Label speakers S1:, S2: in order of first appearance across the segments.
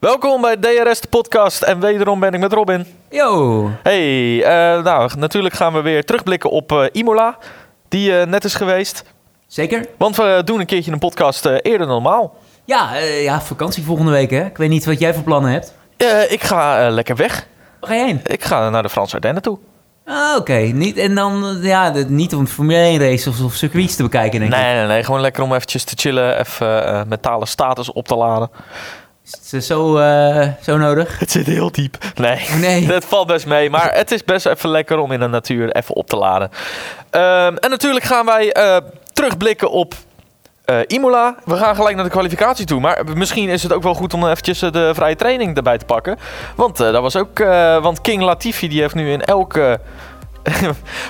S1: Welkom bij DRS de podcast en wederom ben ik met Robin.
S2: Yo!
S1: Hey, eh, nou natuurlijk gaan we weer terugblikken op eh, Imola, die eh, net is geweest.
S2: Zeker?
S1: Want we doen een keertje een podcast eh, eerder dan normaal.
S2: Ja, eh, ja, vakantie volgende week hè. Ik weet niet wat jij voor plannen hebt.
S1: Eh, ik ga eh, lekker weg.
S2: Waar ga je heen?
S1: Ik ga naar de Franse Ardennen toe.
S2: Ah, oké. Niet, en dan, eh, ja, de- niet om Formule 1 race of, of circuits te bekijken denk ik.
S1: Nee, nee, nee, gewoon lekker om eventjes te chillen, even eh, mentale status op te laden.
S2: Is het zo, eh, zo nodig?
S1: Het zit heel diep. Nee,
S2: Nee.
S1: dat valt best mee. Maar het is best even lekker om in de natuur even op te laden. Ehm, en natuurlijk gaan wij eh, terugblikken op eh, Imola. We gaan gelijk naar de kwalificatie toe. Maar misschien is het ook wel goed om eventjes eh, de vrije training erbij te pakken. Want eh, dat was ook... eh, want King Latifi die heeft nu in elke...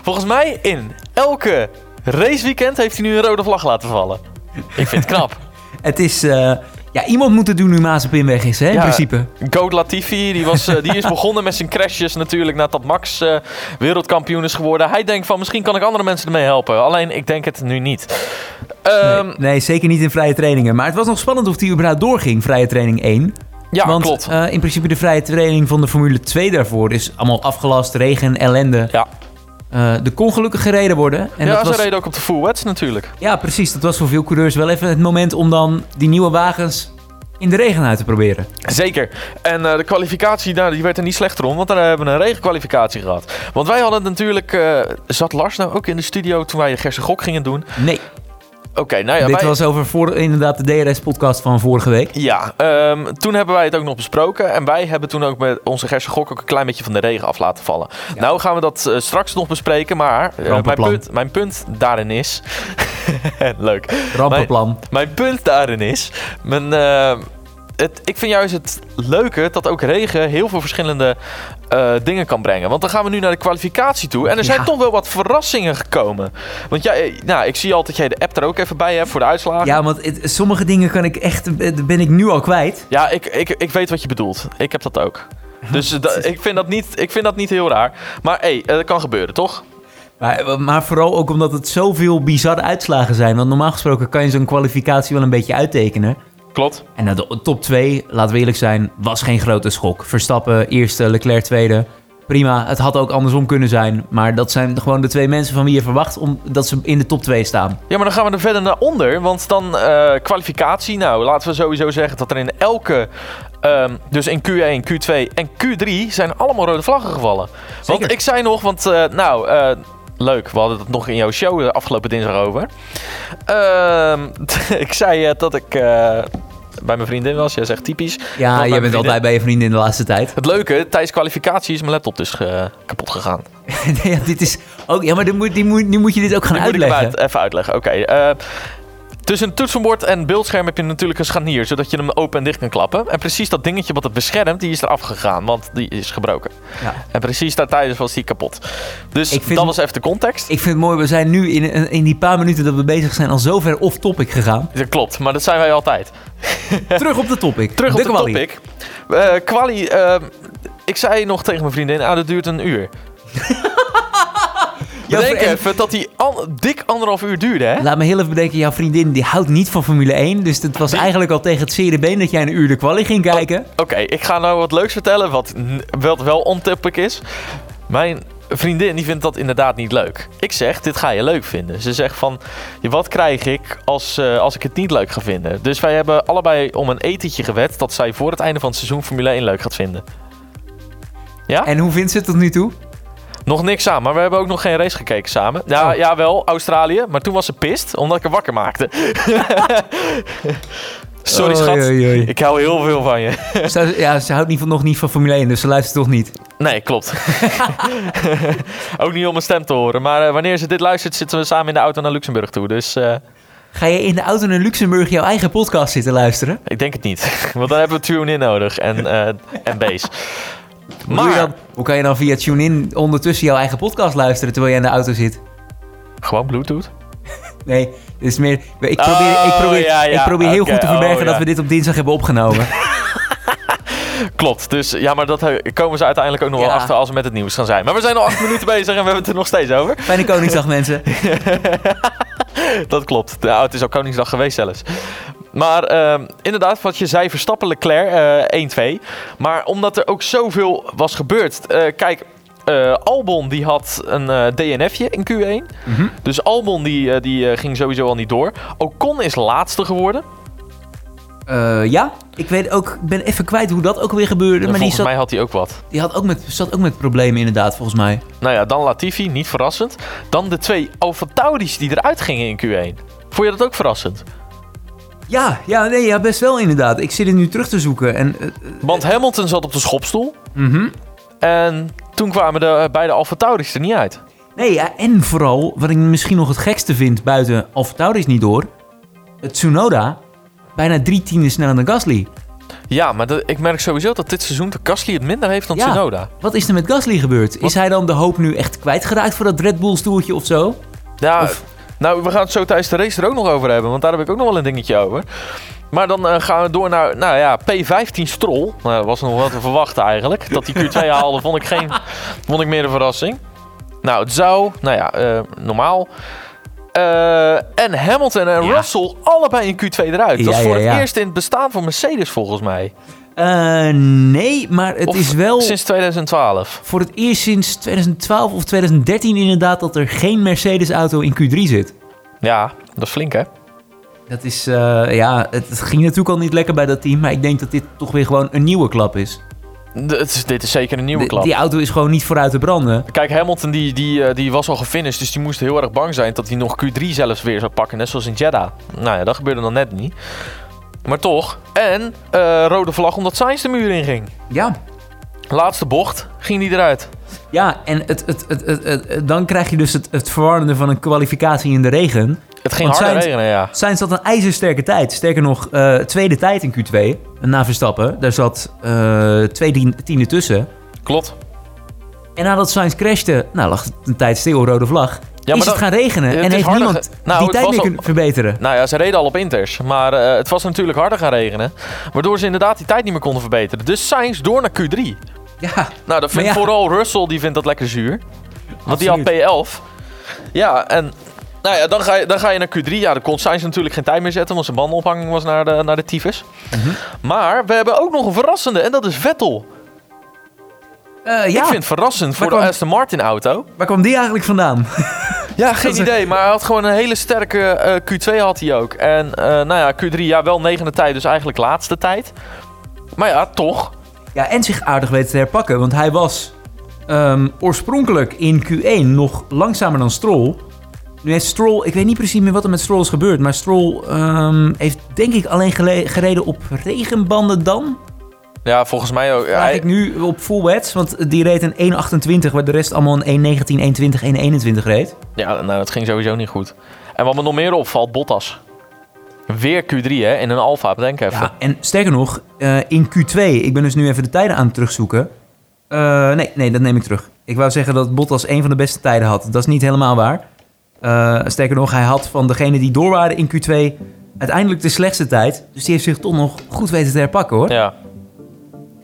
S1: volgens mij in elke raceweekend heeft hij nu een rode vlag laten vallen. Ik vind het knap.
S2: Het is, eh, ja, iemand moet het doen nu Mazepin weg is hè, in
S1: Ja.
S2: principe.
S1: Goat Latifi, die, was, eh, die is begonnen met zijn crashes natuurlijk nadat Max eh, wereldkampioen is geworden. Hij denkt van misschien kan ik andere mensen ermee helpen. Alleen ik denk het nu niet.
S2: Nee,
S1: Ehm,
S2: nee, zeker niet in vrije trainingen. Maar het was nog spannend of die überhaupt doorging, vrije training 1.
S1: Ja,
S2: Want
S1: klopt.
S2: eh, in principe de vrije training van de Formule 2 daarvoor is allemaal afgelast, regen, ellende.
S1: Ja.
S2: Eh, er kon gelukkig gereden worden. En
S1: ja,
S2: dat
S1: ze
S2: was
S1: reden ook op de full wets natuurlijk.
S2: Ja, precies. Dat was voor veel coureurs wel even het moment om dan die nieuwe wagens in de regen uit te proberen.
S1: Zeker. En eh, de kwalificatie, nou, die werd er niet slechter om, want daar hebben we een regenkwalificatie gehad. Want wij hadden natuurlijk... eh, zat Lars nou ook in de studio toen wij Gerse Gok gingen doen?
S2: Nee,
S1: Oké, nou ja,
S2: dit
S1: wij...
S2: was over voor, inderdaad de DRS-podcast van vorige week.
S1: Ja, ehm, toen hebben wij het ook nog besproken. En wij hebben toen ook met onze Gerse Gok ook een klein beetje van de regen af laten vallen. Nou gaan we dat eh, straks nog bespreken, maar eh, mijn,
S2: Rampenplan.
S1: punt, mijn punt daarin is... Leuk.
S2: Rampenplan.
S1: Mijn punt daarin is... Mijn, eh, het, ik vind juist het leuke dat ook regen heel veel verschillende eh, dingen kan brengen. Want dan gaan we nu naar de kwalificatie toe. En er zijn
S2: Ja.
S1: toch wel wat verrassingen gekomen. Want jij, eh, nou, ik zie altijd dat jij de app er ook even bij hebt voor de uitslagen.
S2: Ja, want het- sommige dingen kan ik echt, eh, ben ik nu al kwijt.
S1: Ja, ik, ik, ik weet wat je bedoelt. Ik heb dat ook. Dus eh, da- ik, vind dat niet, ik vind dat niet heel raar. Maar hé, eh, dat kan gebeuren, toch?
S2: Maar, maar vooral ook omdat het zoveel bizarre uitslagen zijn. Want normaal gesproken kan je zo'n kwalificatie wel een beetje uittekenen.
S1: Klopt.
S2: En nou, de top 2, laten we eerlijk zijn, was geen grote schok. Verstappen eerste, Leclerc tweede. Prima, het had ook andersom kunnen zijn. Maar dat zijn gewoon de twee mensen van wie je verwacht om, dat ze in de top 2 staan.
S1: Ja, maar dan gaan we er verder naar onder. Want dan eh, kwalificatie. Nou, laten we sowieso zeggen dat er in elke... ehm, dus in Q1, Q2 en Q3 zijn allemaal rode vlaggen gevallen. Want
S2: Zeker.
S1: ik zei nog, want eh, nou... eh, Leuk, we hadden het nog in jouw show eh, afgelopen dinsdag over. Ehm, ik zei eh, dat ik eh, bij mijn vriendin was. Jij zegt typisch.
S2: Ja,
S1: Want
S2: jij
S1: mijn
S2: bent
S1: vriendin-
S2: altijd bij je vrienden in de laatste tijd.
S1: Het leuke, tijdens kwalificatie is mijn laptop dus eh, kapot gegaan.
S2: Nee, ja, dit is ook, ja, maar dit moet, die moet, nu moet je dit ook gaan
S1: Die moet ik
S2: uitleggen.
S1: hem uit- even uitleggen. Oké. eh, tussen toetsenbord en beeldscherm heb je natuurlijk een scharnier, zodat je hem open en dicht kan klappen. En precies dat dingetje wat het beschermt, die is eraf gegaan, want die is gebroken.
S2: Ja.
S1: En precies daar tijdens was die kapot. Dus
S2: Ik vind-
S1: dat was even de context.
S2: Ik vind het mooi, we zijn nu in, in die paar minuten dat we bezig zijn al zo ver off-topic gegaan.
S1: Dat klopt, maar dat zijn wij altijd.
S2: Terug op de topic.
S1: Terug op de
S2: kwalie.
S1: topic. Eh quali, eh, ik zei nog tegen mijn vriendin, ah, dat duurt een uur.
S2: Ja,
S1: Bedenk
S2: voor-
S1: even dat die an- dik anderhalf uur duurde, hè?
S2: Laat me heel even bedenken, jouw vriendin die houdt niet van Formule 1. Dus het was eigenlijk al tegen het zere been dat jij een uur de kwalie ging kijken.
S1: Oké, ik ga nou wat leuks vertellen, wat, n- wat wel ontippelijk is. Mijn vriendin die vindt dat inderdaad niet leuk. Ik zeg, dit ga je leuk vinden. Ze zegt van, "Ja, wat krijg ik als, eh, als ik het niet leuk ga vinden? Dus wij hebben allebei om een etentje gewet dat zij voor het einde van het seizoen Formule 1 leuk gaat vinden.
S2: En hoe vindt ze het tot nu toe?
S1: Nog niks aan, maar we hebben ook nog geen race gekeken samen. Ja,
S2: Oh.
S1: jawel, Australië, maar toen was ze pist omdat ik haar wakker maakte. Sorry
S2: Oei,
S1: schat,
S2: oei, oei.
S1: ik hou heel veel van je.
S2: Ze, ja, ze houdt niet van, nog niet van Formule 1, dus ze luistert toch niet.
S1: Nee, klopt. ook niet om mijn stem te horen. Maar eh, wanneer ze dit luistert, zitten we samen in de auto naar Luxemburg toe. Dus eh,
S2: Ga je in de auto naar Luxemburg jouw eigen podcast zitten luisteren?
S1: ik denk het niet. Want dan hebben we tune-in nodig en, eh, en base.
S2: Hoe doe je
S1: Maar
S2: dan, hoe kan je dan via TuneIn ondertussen jouw eigen podcast luisteren terwijl je in de auto zit?
S1: gewoon Bluetooth.
S2: Nee, dit is meer. Ik probeer,
S1: Oh,
S2: ik probeer,
S1: ja, ja,
S2: ik probeer heel
S1: oké,
S2: goed te verbergen
S1: oh, ja.
S2: dat we dit op dinsdag hebben opgenomen.
S1: Klopt. Dus ja, maar dat eh, komen ze uiteindelijk ook nog
S2: Ja.
S1: wel achter als we met het nieuws gaan zijn. Maar we zijn al acht minuten bezig en we hebben het er nog steeds over.
S2: Fijne Koningsdag, mensen.
S1: Dat klopt. Nou, het is al Koningsdag geweest zelfs. Maar ehm, inderdaad, wat je zei, Verstappen Leclerc eh 1-2. Maar omdat er ook zoveel was gebeurd. eh, kijk, eh, Albon die had een eh, DNF'je in Q1.
S2: Mhm.
S1: Dus Albon die, eh, die eh, ging sowieso al niet door. Ocon is laatste geworden.
S2: Eh, ja, ik weet ook, ik ben even kwijt hoe dat ook weer gebeurde. Maar die,
S1: Volgens
S2: zat,
S1: mij had hij ook wat.
S2: die had ook met, zat ook met problemen inderdaad, volgens mij.
S1: Nou ja, dan Latifi, niet verrassend. Dan de twee Alfa Tauris die eruit gingen in Q1. Vond je dat ook verrassend?
S2: Ja, ja, nee, ja, best wel inderdaad. Ik zit het nu terug te zoeken. En, eh,
S1: Want Hamilton zat op de schopstoel.
S2: mhm.
S1: En toen kwamen de eh, beide Alfa Tauris er niet uit.
S2: Nee, ja, en vooral, wat ik misschien nog het gekste vind buiten Alphatauri is niet door. Het Tsunoda, bijna drie tienden sneller dan Gasly.
S1: Ja, maar dat- ik merk sowieso dat dit seizoen de Gasly het minder heeft dan
S2: Ja.
S1: Tsunoda.
S2: Wat is er met Gasly gebeurd?
S1: Wat?
S2: Is hij dan de hoop nu echt kwijtgeraakt voor dat Red Bull stoeltje of zo?
S1: Ja,
S2: Of-
S1: nou, we gaan het zo tijdens de race er ook nog over hebben, want daar heb ik ook nog wel een dingetje over. Maar dan eh, gaan we door naar, nou ja, P15 Strol. Nou, dat was nog wel te verwachten eigenlijk. Dat die Q2 haalde, vond ik, geen, vond ik meer een verrassing. Nou, het zou, nou ja, eh, normaal. Eh, en Hamilton en
S2: Ja.
S1: Russell allebei in Q2 eruit. dat
S2: Ja,
S1: is voor
S2: ja, ja.
S1: het eerst in het bestaan van Mercedes volgens mij.
S2: Eh, nee, maar het
S1: Of
S2: is wel
S1: Sinds 2012.
S2: voor het eerst sinds 2012 of 2013 inderdaad dat er geen Mercedes-auto in Q3 zit.
S1: Ja, dat is flink hè.
S2: Dat is, eh, ja, het, het ging natuurlijk al niet lekker bij dat team, maar ik denk dat dit toch weer gewoon een nieuwe klap is.
S1: D- het is- dit is zeker een nieuwe
S2: De-
S1: klap.
S2: die auto is gewoon niet vooruit te branden.
S1: Kijk, Hamilton die, die, eh, die was al gefinished, dus die moest heel erg bang zijn dat hij nog Q3 zelfs weer zou pakken, net zoals in Jeddah. Nou ja, dat gebeurde dan net niet. Maar toch. En eh, rode vlag omdat Sainz de muur inging.
S2: Ja,
S1: Laatste bocht ging die eruit.
S2: Ja, en het, het, het, het, het- het- dan krijg je dus het, het verwarrende van een kwalificatie in de regen.
S1: Het ging
S2: Want
S1: harder
S2: Sainz-
S1: regenen, ja.
S2: Sainz had een ijzersterke tijd. Sterker nog, eh, tweede tijd in Q2 na Verstappen. Daar zat eh, twee dien- tienden tussen.
S1: Klopt.
S2: En nadat Sainz crashte, nou lag het een tijd stil, rode vlag.
S1: Ja,
S2: is
S1: maar
S2: het
S1: dat-
S2: gaan regenen
S1: het
S2: en
S1: is
S2: heeft
S1: harder
S2: niemand
S1: ge- Nou,
S2: die
S1: het
S2: tijd
S1: was
S2: meer
S1: al-
S2: kunnen verbeteren.
S1: Nou ja, ze reden al op inters, maar eh, het was natuurlijk harder gaan regenen. Waardoor ze inderdaad die tijd niet meer konden verbeteren. Dus Sainz door naar Q3.
S2: Ja,
S1: Nou, dat vindt
S2: Maar ja.
S1: vooral Russell, die vindt dat lekker zuur. Want die had
S2: Absoluut.
S1: P11. Ja, en nou ja, dan, ga je, dan ga je naar Q3. Ja, dan kon Sainz natuurlijk geen tijd meer zetten, want zijn bandenopvanging was naar de, naar de tyfus.
S2: Mhm.
S1: Maar we hebben ook nog een verrassende, en dat is Vettel.
S2: Eh, ja.
S1: Ik vind het verrassend voor de
S2: kwam-
S1: Aston Martin auto.
S2: waar kwam die eigenlijk vandaan?
S1: Ja, geen idee, maar hij had gewoon een hele sterke eh, Q2 had hij ook. En eh, nou ja, Q3, ja, wel negende tijd, dus eigenlijk laatste tijd. Maar ja, toch.
S2: Ja, en zich aardig weten te herpakken. Want hij was ehm, oorspronkelijk in Q1 nog langzamer dan Stroll. Nu heeft Stroll, ik weet niet precies meer wat er met Stroll is gebeurd. Maar Stroll ehm, heeft denk ik alleen gele- gereden op regenbanden dan.
S1: Ja, volgens mij ook.
S2: Vraag
S1: hij-
S2: ik nu op full wets. Want die reed een 1.28 waar de rest allemaal een 1.19, 1.20, 1.21 reed.
S1: Ja, nou, het ging sowieso niet goed. En wat me nog meer opvalt, Bottas. Weer Q3, hè? In een Alfa, denk even.
S2: Ja, en sterker nog, eh, in Q2, ik ben dus nu even de tijden aan het terugzoeken. Eh, nee, nee, dat neem ik terug. Ik wou zeggen dat Bottas een van de beste tijden had. Dat is niet helemaal waar. Eh, sterker nog, hij had van degenen die door waren in Q2 uiteindelijk de slechtste tijd. Dus die heeft zich toch nog goed weten te herpakken hoor.
S1: Ja.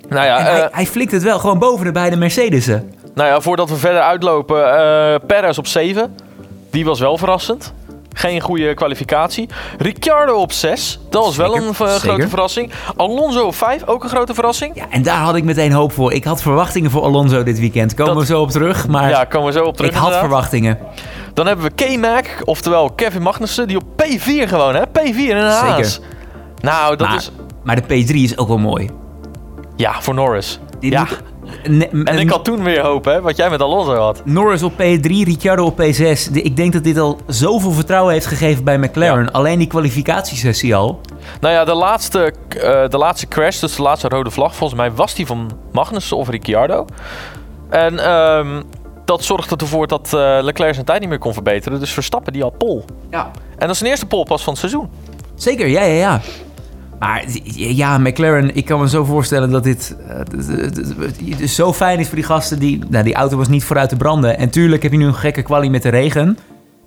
S1: Nou ja,
S2: En hij,
S1: eh,
S2: hij flikt het wel gewoon boven de beide Mercedes'en.
S1: nou ja, voordat we verder uitlopen, eh Perez op 7. Die was wel verrassend. Geen goede kwalificatie. Ricciardo op 6. Dat was wel
S2: Zeker,
S1: een eh,
S2: zeker.
S1: grote verrassing. Alonso op 5, ook een grote verrassing.
S2: Ja, en daar had ik meteen hoop voor. Ik had verwachtingen voor Alonso dit weekend. Komen
S1: Dat-
S2: we zo op terug, maar
S1: Ja, komen we zo op terug.
S2: ik had
S1: inderdaad.
S2: verwachtingen.
S1: Dan hebben we K-Mac, oftewel Kevin Magnussen, die op P4 gewoon, hè? P4 in een
S2: Zeker.
S1: Haas. Nou, dat
S2: maar,
S1: is...
S2: maar de P3 is ook wel mooi.
S1: Ja, voor Norris.
S2: Die
S1: ja.
S2: doet- Ne-
S1: En ik had toen weer hoop, hè, wat jij met Alonso had.
S2: Norris op P3, Ricciardo op P6. De- ik denk dat dit al zoveel vertrouwen heeft gegeven bij McLaren. Alleen die kwalificatiesessie al.
S1: Nou ja, de laatste, eh, de laatste crash, dus de laatste rode vlag, volgens mij was die van Magnussen of Ricciardo. En ehm, dat zorgde ervoor dat eh, Leclerc zijn tijd niet meer kon verbeteren. Dus Verstappen die had pol.
S2: Ja.
S1: En dat is zijn eerste pol pas van het seizoen.
S2: Zeker, ja, ja, ja. Maar d- ja, McLaren, ik kan me zo voorstellen dat dit eh, d- d- d- d- zo fijn is voor die gasten. Die, nou, die auto was niet vooruit te branden. En tuurlijk heb je nu een gekke kwalie met de regen.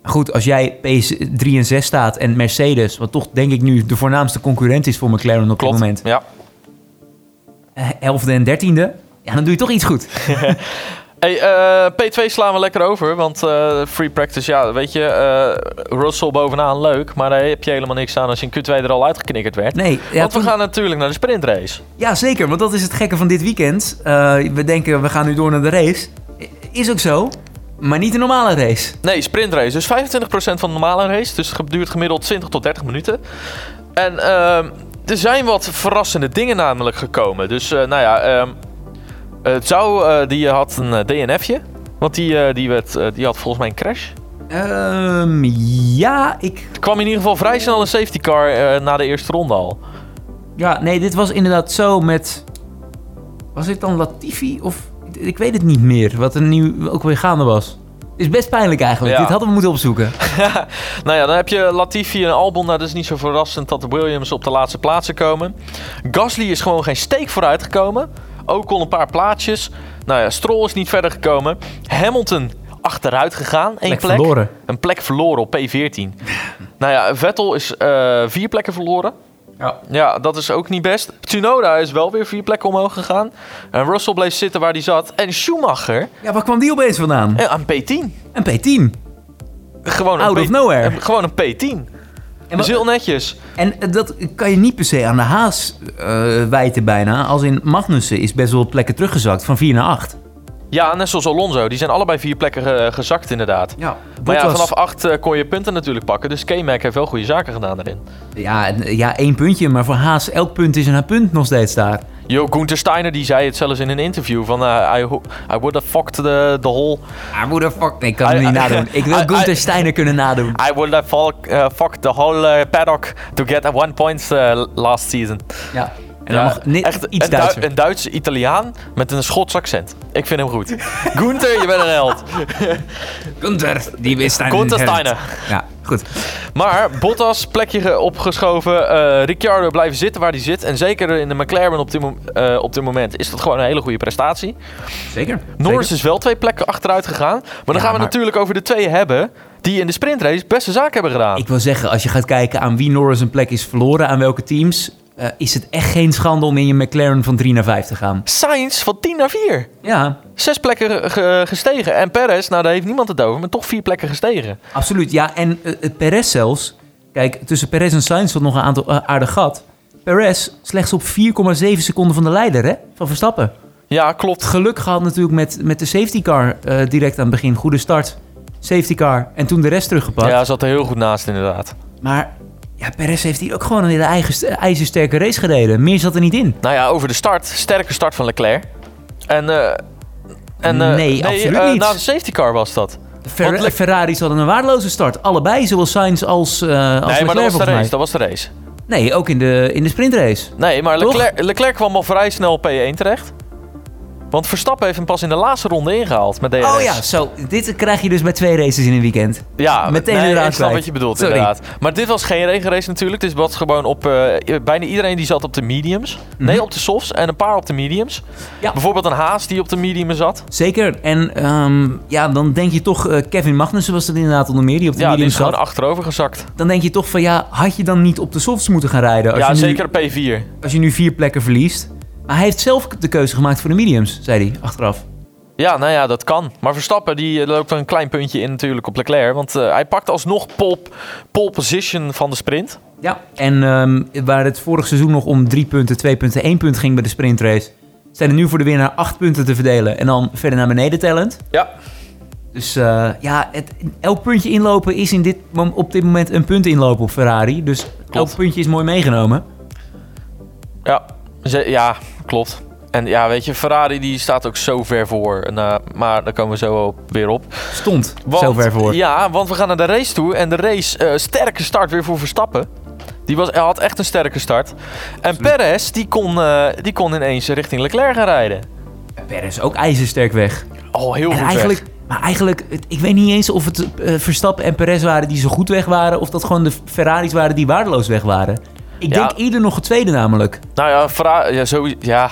S2: Maar goed, als jij P3 en 6 staat en Mercedes, wat toch denk ik nu de voornaamste concurrent is voor McLaren op dit
S1: Klopt.
S2: moment. eh,
S1: Ja.
S2: 11e en 13e, ja, dan doe je toch iets goed.
S1: Hey, eh, P2 slaan we lekker over, want eh, free practice, ja, weet je, eh Russell bovenaan leuk, maar daar heb je helemaal niks aan als je in Q2 er al uitgeknikkerd werd.
S2: Nee, ja,
S1: want we
S2: toen-
S1: gaan natuurlijk naar de sprintrace.
S2: ja, zeker. Want dat is het gekke van dit weekend. Eh, we denken, we gaan nu door naar de race. I- Is ook zo, maar niet de normale race.
S1: Nee, sprintrace. Dus 25% van de normale race. Dus het duurt gemiddeld 20 tot 30 minuten. En ehm, er zijn wat verrassende dingen namelijk gekomen. Dus eh, nou ja, ehm eh, Zhou, eh, die had een eh, DNF'je. Want die, eh, die, werd, eh, die had volgens mij een crash.
S2: Ehm, ja, ik...
S1: Er kwam in ieder geval vrij snel een safety car eh, na de eerste ronde al.
S2: Ja, nee, dit was inderdaad zo met... Was dit dan Latifi of... Ik weet het niet meer, wat er nu ook weer gaande was. Is best pijnlijk eigenlijk.
S1: Ja.
S2: Dit hadden we moeten opzoeken.
S1: Nou ja, dan heb je Latifi en Albon. Nou, dat is niet zo verrassend dat de Williams op de laatste plaatsen komen. Gasly is gewoon geen steek vooruit gekomen. Ook al een paar plaatsjes. Nou ja, Stroll is niet verder gekomen. Hamilton achteruit gegaan. Eén plek.
S2: Plek verloren.
S1: Een plek verloren op P14. nou ja, Vettel is eh, vier plekken verloren.
S2: Ja.
S1: Ja, dat is ook niet best. Tsunoda is wel weer vier plekken omhoog gegaan. En Russell bleef zitten waar hij zat. En Schumacher
S2: Ja, waar kwam die opeens vandaan?
S1: eh, aan P10.
S2: Een P10.
S1: Gewoon een
S2: Out
S1: P-
S2: of nowhere.
S1: eh, Gewoon een P10.
S2: En,
S1: Dus
S2: wa-
S1: heel netjes.
S2: en eh, dat kan je niet per se aan de Haas eh, wijten bijna. Als in Magnussen is best wel wat plekken teruggezakt. Van 4 naar 8.
S1: Ja, net zoals Alonso. Die zijn allebei vier plekken eh, gezakt inderdaad.
S2: Ja,
S1: Maar ja, vanaf acht eh, kon je punten natuurlijk pakken. Dus K-Mac heeft wel goede zaken gedaan daarin.
S2: ja, en- ja, één puntje. Maar voor Haas, elk punt is een punt nog steeds daar.
S1: Jo, Gunther Steiner die zei het zelfs in een interview. Van, eh, I, ho- I would have fucked the, the whole...
S2: Ah, moederfuck. Nee, ik kan
S1: Ah,
S2: hem niet
S1: ah,
S2: nadoen. Ik wil
S1: ah,
S2: Gunther
S1: ah.
S2: Steiner kunnen nadoen.
S1: I would have fuck- eh, fucked the whole eh, paddock to get one point eh, last season.
S2: Ja. En dan mag net iets
S1: een, Dui-
S2: Duitser.
S1: een Duitse Italiaan met een Schots accent. Ik vind hem goed. Gunther, je bent een held.
S2: Gunther, die wist Steiner.
S1: Gunther Steiner.
S2: Ja, goed.
S1: Maar Bottas, plekje ge- opgeschoven. eh Ricciardo blijven zitten waar hij zit. En zeker in de McLaren op dit, mom- eh, op dit moment is dat gewoon een hele goede prestatie.
S2: Zeker.
S1: Norris
S2: Zeker.
S1: is wel twee plekken achteruit gegaan. Maar dan
S2: Ja,
S1: gaan we
S2: maar-
S1: natuurlijk over de twee hebben die in de sprintrace beste zaak hebben gedaan.
S2: Ik wil zeggen, als je gaat kijken aan wie Norris een plek is verloren, aan welke teams, eh, is het echt geen schande om in je McLaren van 3 naar 5 te gaan.
S1: Sainz van 10 naar 4.
S2: Ja,
S1: Zes plekken ge- gestegen. En Perez, nou daar heeft niemand het over, maar toch vier plekken gestegen.
S2: absoluut. Ja, en eh, eh, Perez zelfs. Kijk, tussen Perez en Sainz zat nog een aantal eh, aardig gat. Perez slechts op 4,7 seconden van de leider, hè? Van Verstappen.
S1: Ja, klopt.
S2: Geluk gehad natuurlijk met, met de safety car eh, direct aan het begin. Goede start, safety car en toen de rest teruggepakt.
S1: Ja, zat er heel goed naast inderdaad.
S2: Maar ja, Perez heeft hier ook gewoon een hele eigen, st- ijzersterke race gereden. Meer zat er niet in.
S1: Nou ja, over de start. Sterke start van Leclerc. En... eh, en, eh,
S2: Nee, absoluut
S1: eh,
S2: niet.
S1: Na de safety car was dat.
S2: Fer-
S1: Want Le-
S2: Ferraris hadden een waardeloze start. Allebei, zowel Sainz als, eh als
S1: Nee,
S2: Leclerc
S1: maar dat was de
S2: volgens mij.
S1: race. Dat was de race.
S2: Nee, ook in de, in de sprintrace.
S1: Nee, maar
S2: Toch?
S1: Leclerc, Leclerc kwam al vrij snel op P1 terecht. Want Verstappen heeft hem pas in de laatste ronde ingehaald met DRS.
S2: Oh ja, zo. Dit krijg je dus bij twee races in een weekend.
S1: Ja,
S2: Meteen
S1: nee,
S2: inderdaad
S1: ik snap
S2: kwijt.
S1: wat je bedoelt,
S2: Sorry.
S1: inderdaad. Maar dit was geen regenrace natuurlijk. Dit was gewoon op... eh, bijna iedereen die zat op de mediums. Nee, op de softs en een paar op de mediums.
S2: Mhm. Ja.
S1: Bijvoorbeeld een Haas die op de medium zat.
S2: Zeker. En ehm, ja, dan denk je toch... eh, Kevin Magnussen was dat inderdaad onder meer, die op de
S1: Ja, die
S2: medium
S1: is gewoon
S2: zat.
S1: achterover gezakt.
S2: Dan denk je toch van ja, had je dan niet op de softs moeten gaan rijden? Als
S1: ja,
S2: je nu,
S1: zeker P4.
S2: Als je nu vier plekken verliest. Maar hij heeft zelf de keuze gemaakt voor de mediums, zei hij achteraf.
S1: Ja, nou ja, dat kan. Maar Verstappen die eh, loopt er een klein puntje in natuurlijk op Leclerc. Want eh, hij pakt alsnog pole, pole position van de sprint.
S2: Ja, en ehm, waar het vorig seizoen nog om drie punten, twee punten, één punt ging bij de sprintrace, zijn er nu voor de winnaar acht punten te verdelen en dan verder naar beneden talent.
S1: Ja.
S2: Dus eh, ja, het, elk puntje inlopen is in dit, mom- op dit moment een punt inlopen op Ferrari. Dus elk puntje is mooi meegenomen.
S1: Ja, ze- ja klopt. En ja, weet je, Ferrari die staat ook zo ver voor. En, eh, maar daar komen we zo op- weer op.
S2: Stond
S1: Want-
S2: zover voor.
S1: Ja, want we gaan naar de race toe. En de race, eh, sterke start weer voor Verstappen. Die was, hij had echt een sterke start. En Perez, die kon, eh, die kon ineens richting Leclerc gaan rijden.
S2: Perez ook ijzersterk weg.
S1: Oh, heel
S2: En
S1: goed
S2: eigenlijk,
S1: weg.
S2: maar eigenlijk, het- ik weet niet eens of het eh, Verstappen en Perez waren die zo goed weg waren, of dat gewoon de Ferraris waren die waardeloos weg waren. Ik
S1: Ja.
S2: denk eerder nog het tweede namelijk.
S1: Nou ja, Ferrari, ja, sowieso- ja,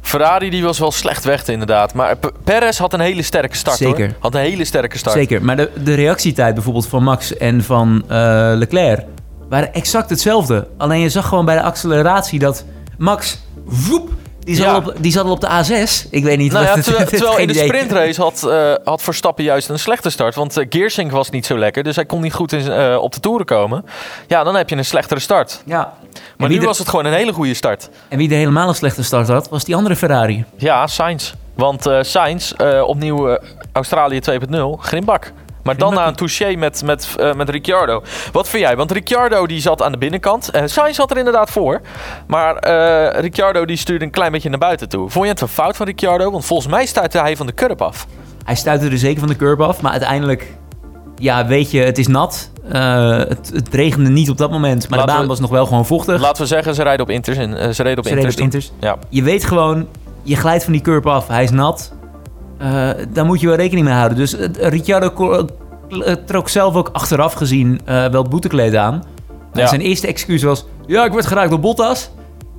S1: Ferrari die was wel slecht weg inderdaad. Maar P- Perez had een hele sterke start
S2: Zeker.
S1: hoor. Had een hele sterke start.
S2: Zeker, maar de, de reactietijd bijvoorbeeld van Max en van eh, Leclerc waren exact hetzelfde. Alleen je zag gewoon bij de acceleratie dat Max woep, Die zat,
S1: Ja.
S2: al op, die zat al op de A6. Ik weet niet
S1: Nou
S2: wat
S1: ja,
S2: het-
S1: terwijl,
S2: het
S1: terwijl in de
S2: geen idee.
S1: sprintrace had, eh had Verstappen juist een slechte start. Want eh, Geersink was niet zo lekker, dus hij kon niet goed in, zijn- eh, op de toeren komen. Ja, dan heb je een slechtere start.
S2: Ja.
S1: Maar
S2: en, wie
S1: nu
S2: er-
S1: was het gewoon een hele goede start.
S2: en wie er helemaal een slechte start had, was die andere Ferrari.
S1: Ja, Sainz. Want eh Sainz, eh, opnieuw eh, Australië 2.0, grimbak. Maar dan
S2: Grimbak.
S1: na een touché met, met, eh, met Ricciardo. Wat vind jij? Want Ricciardo die zat aan de binnenkant. Eh Sainz zat er inderdaad voor. Maar eh, Ricciardo die stuurde een klein beetje naar buiten toe. Vond je het een fout van Ricciardo? Want volgens mij stuitte hij van de curb af.
S2: Hij stuitte er zeker van de curb af, maar uiteindelijk... Ja, weet je, het is nat. Eh, het, het regende niet op dat moment, maar
S1: Laten
S2: de baan
S1: we-
S2: was nog wel gewoon vochtig.
S1: Laten we zeggen, ze rijden op Inters. En, eh, ze reden op
S2: Ze reden
S1: Inters.
S2: op Inters.
S1: Ja.
S2: Je weet gewoon, je glijdt van die curb af, hij is nat. Eh, daar moet je wel rekening mee houden. Dus eh, Ricciardo ko- eh, trok zelf ook achteraf gezien eh, wel het boetekleed aan. En
S1: Ja.
S2: Zijn eerste excuus was, ja, ik werd geraakt door Bottas.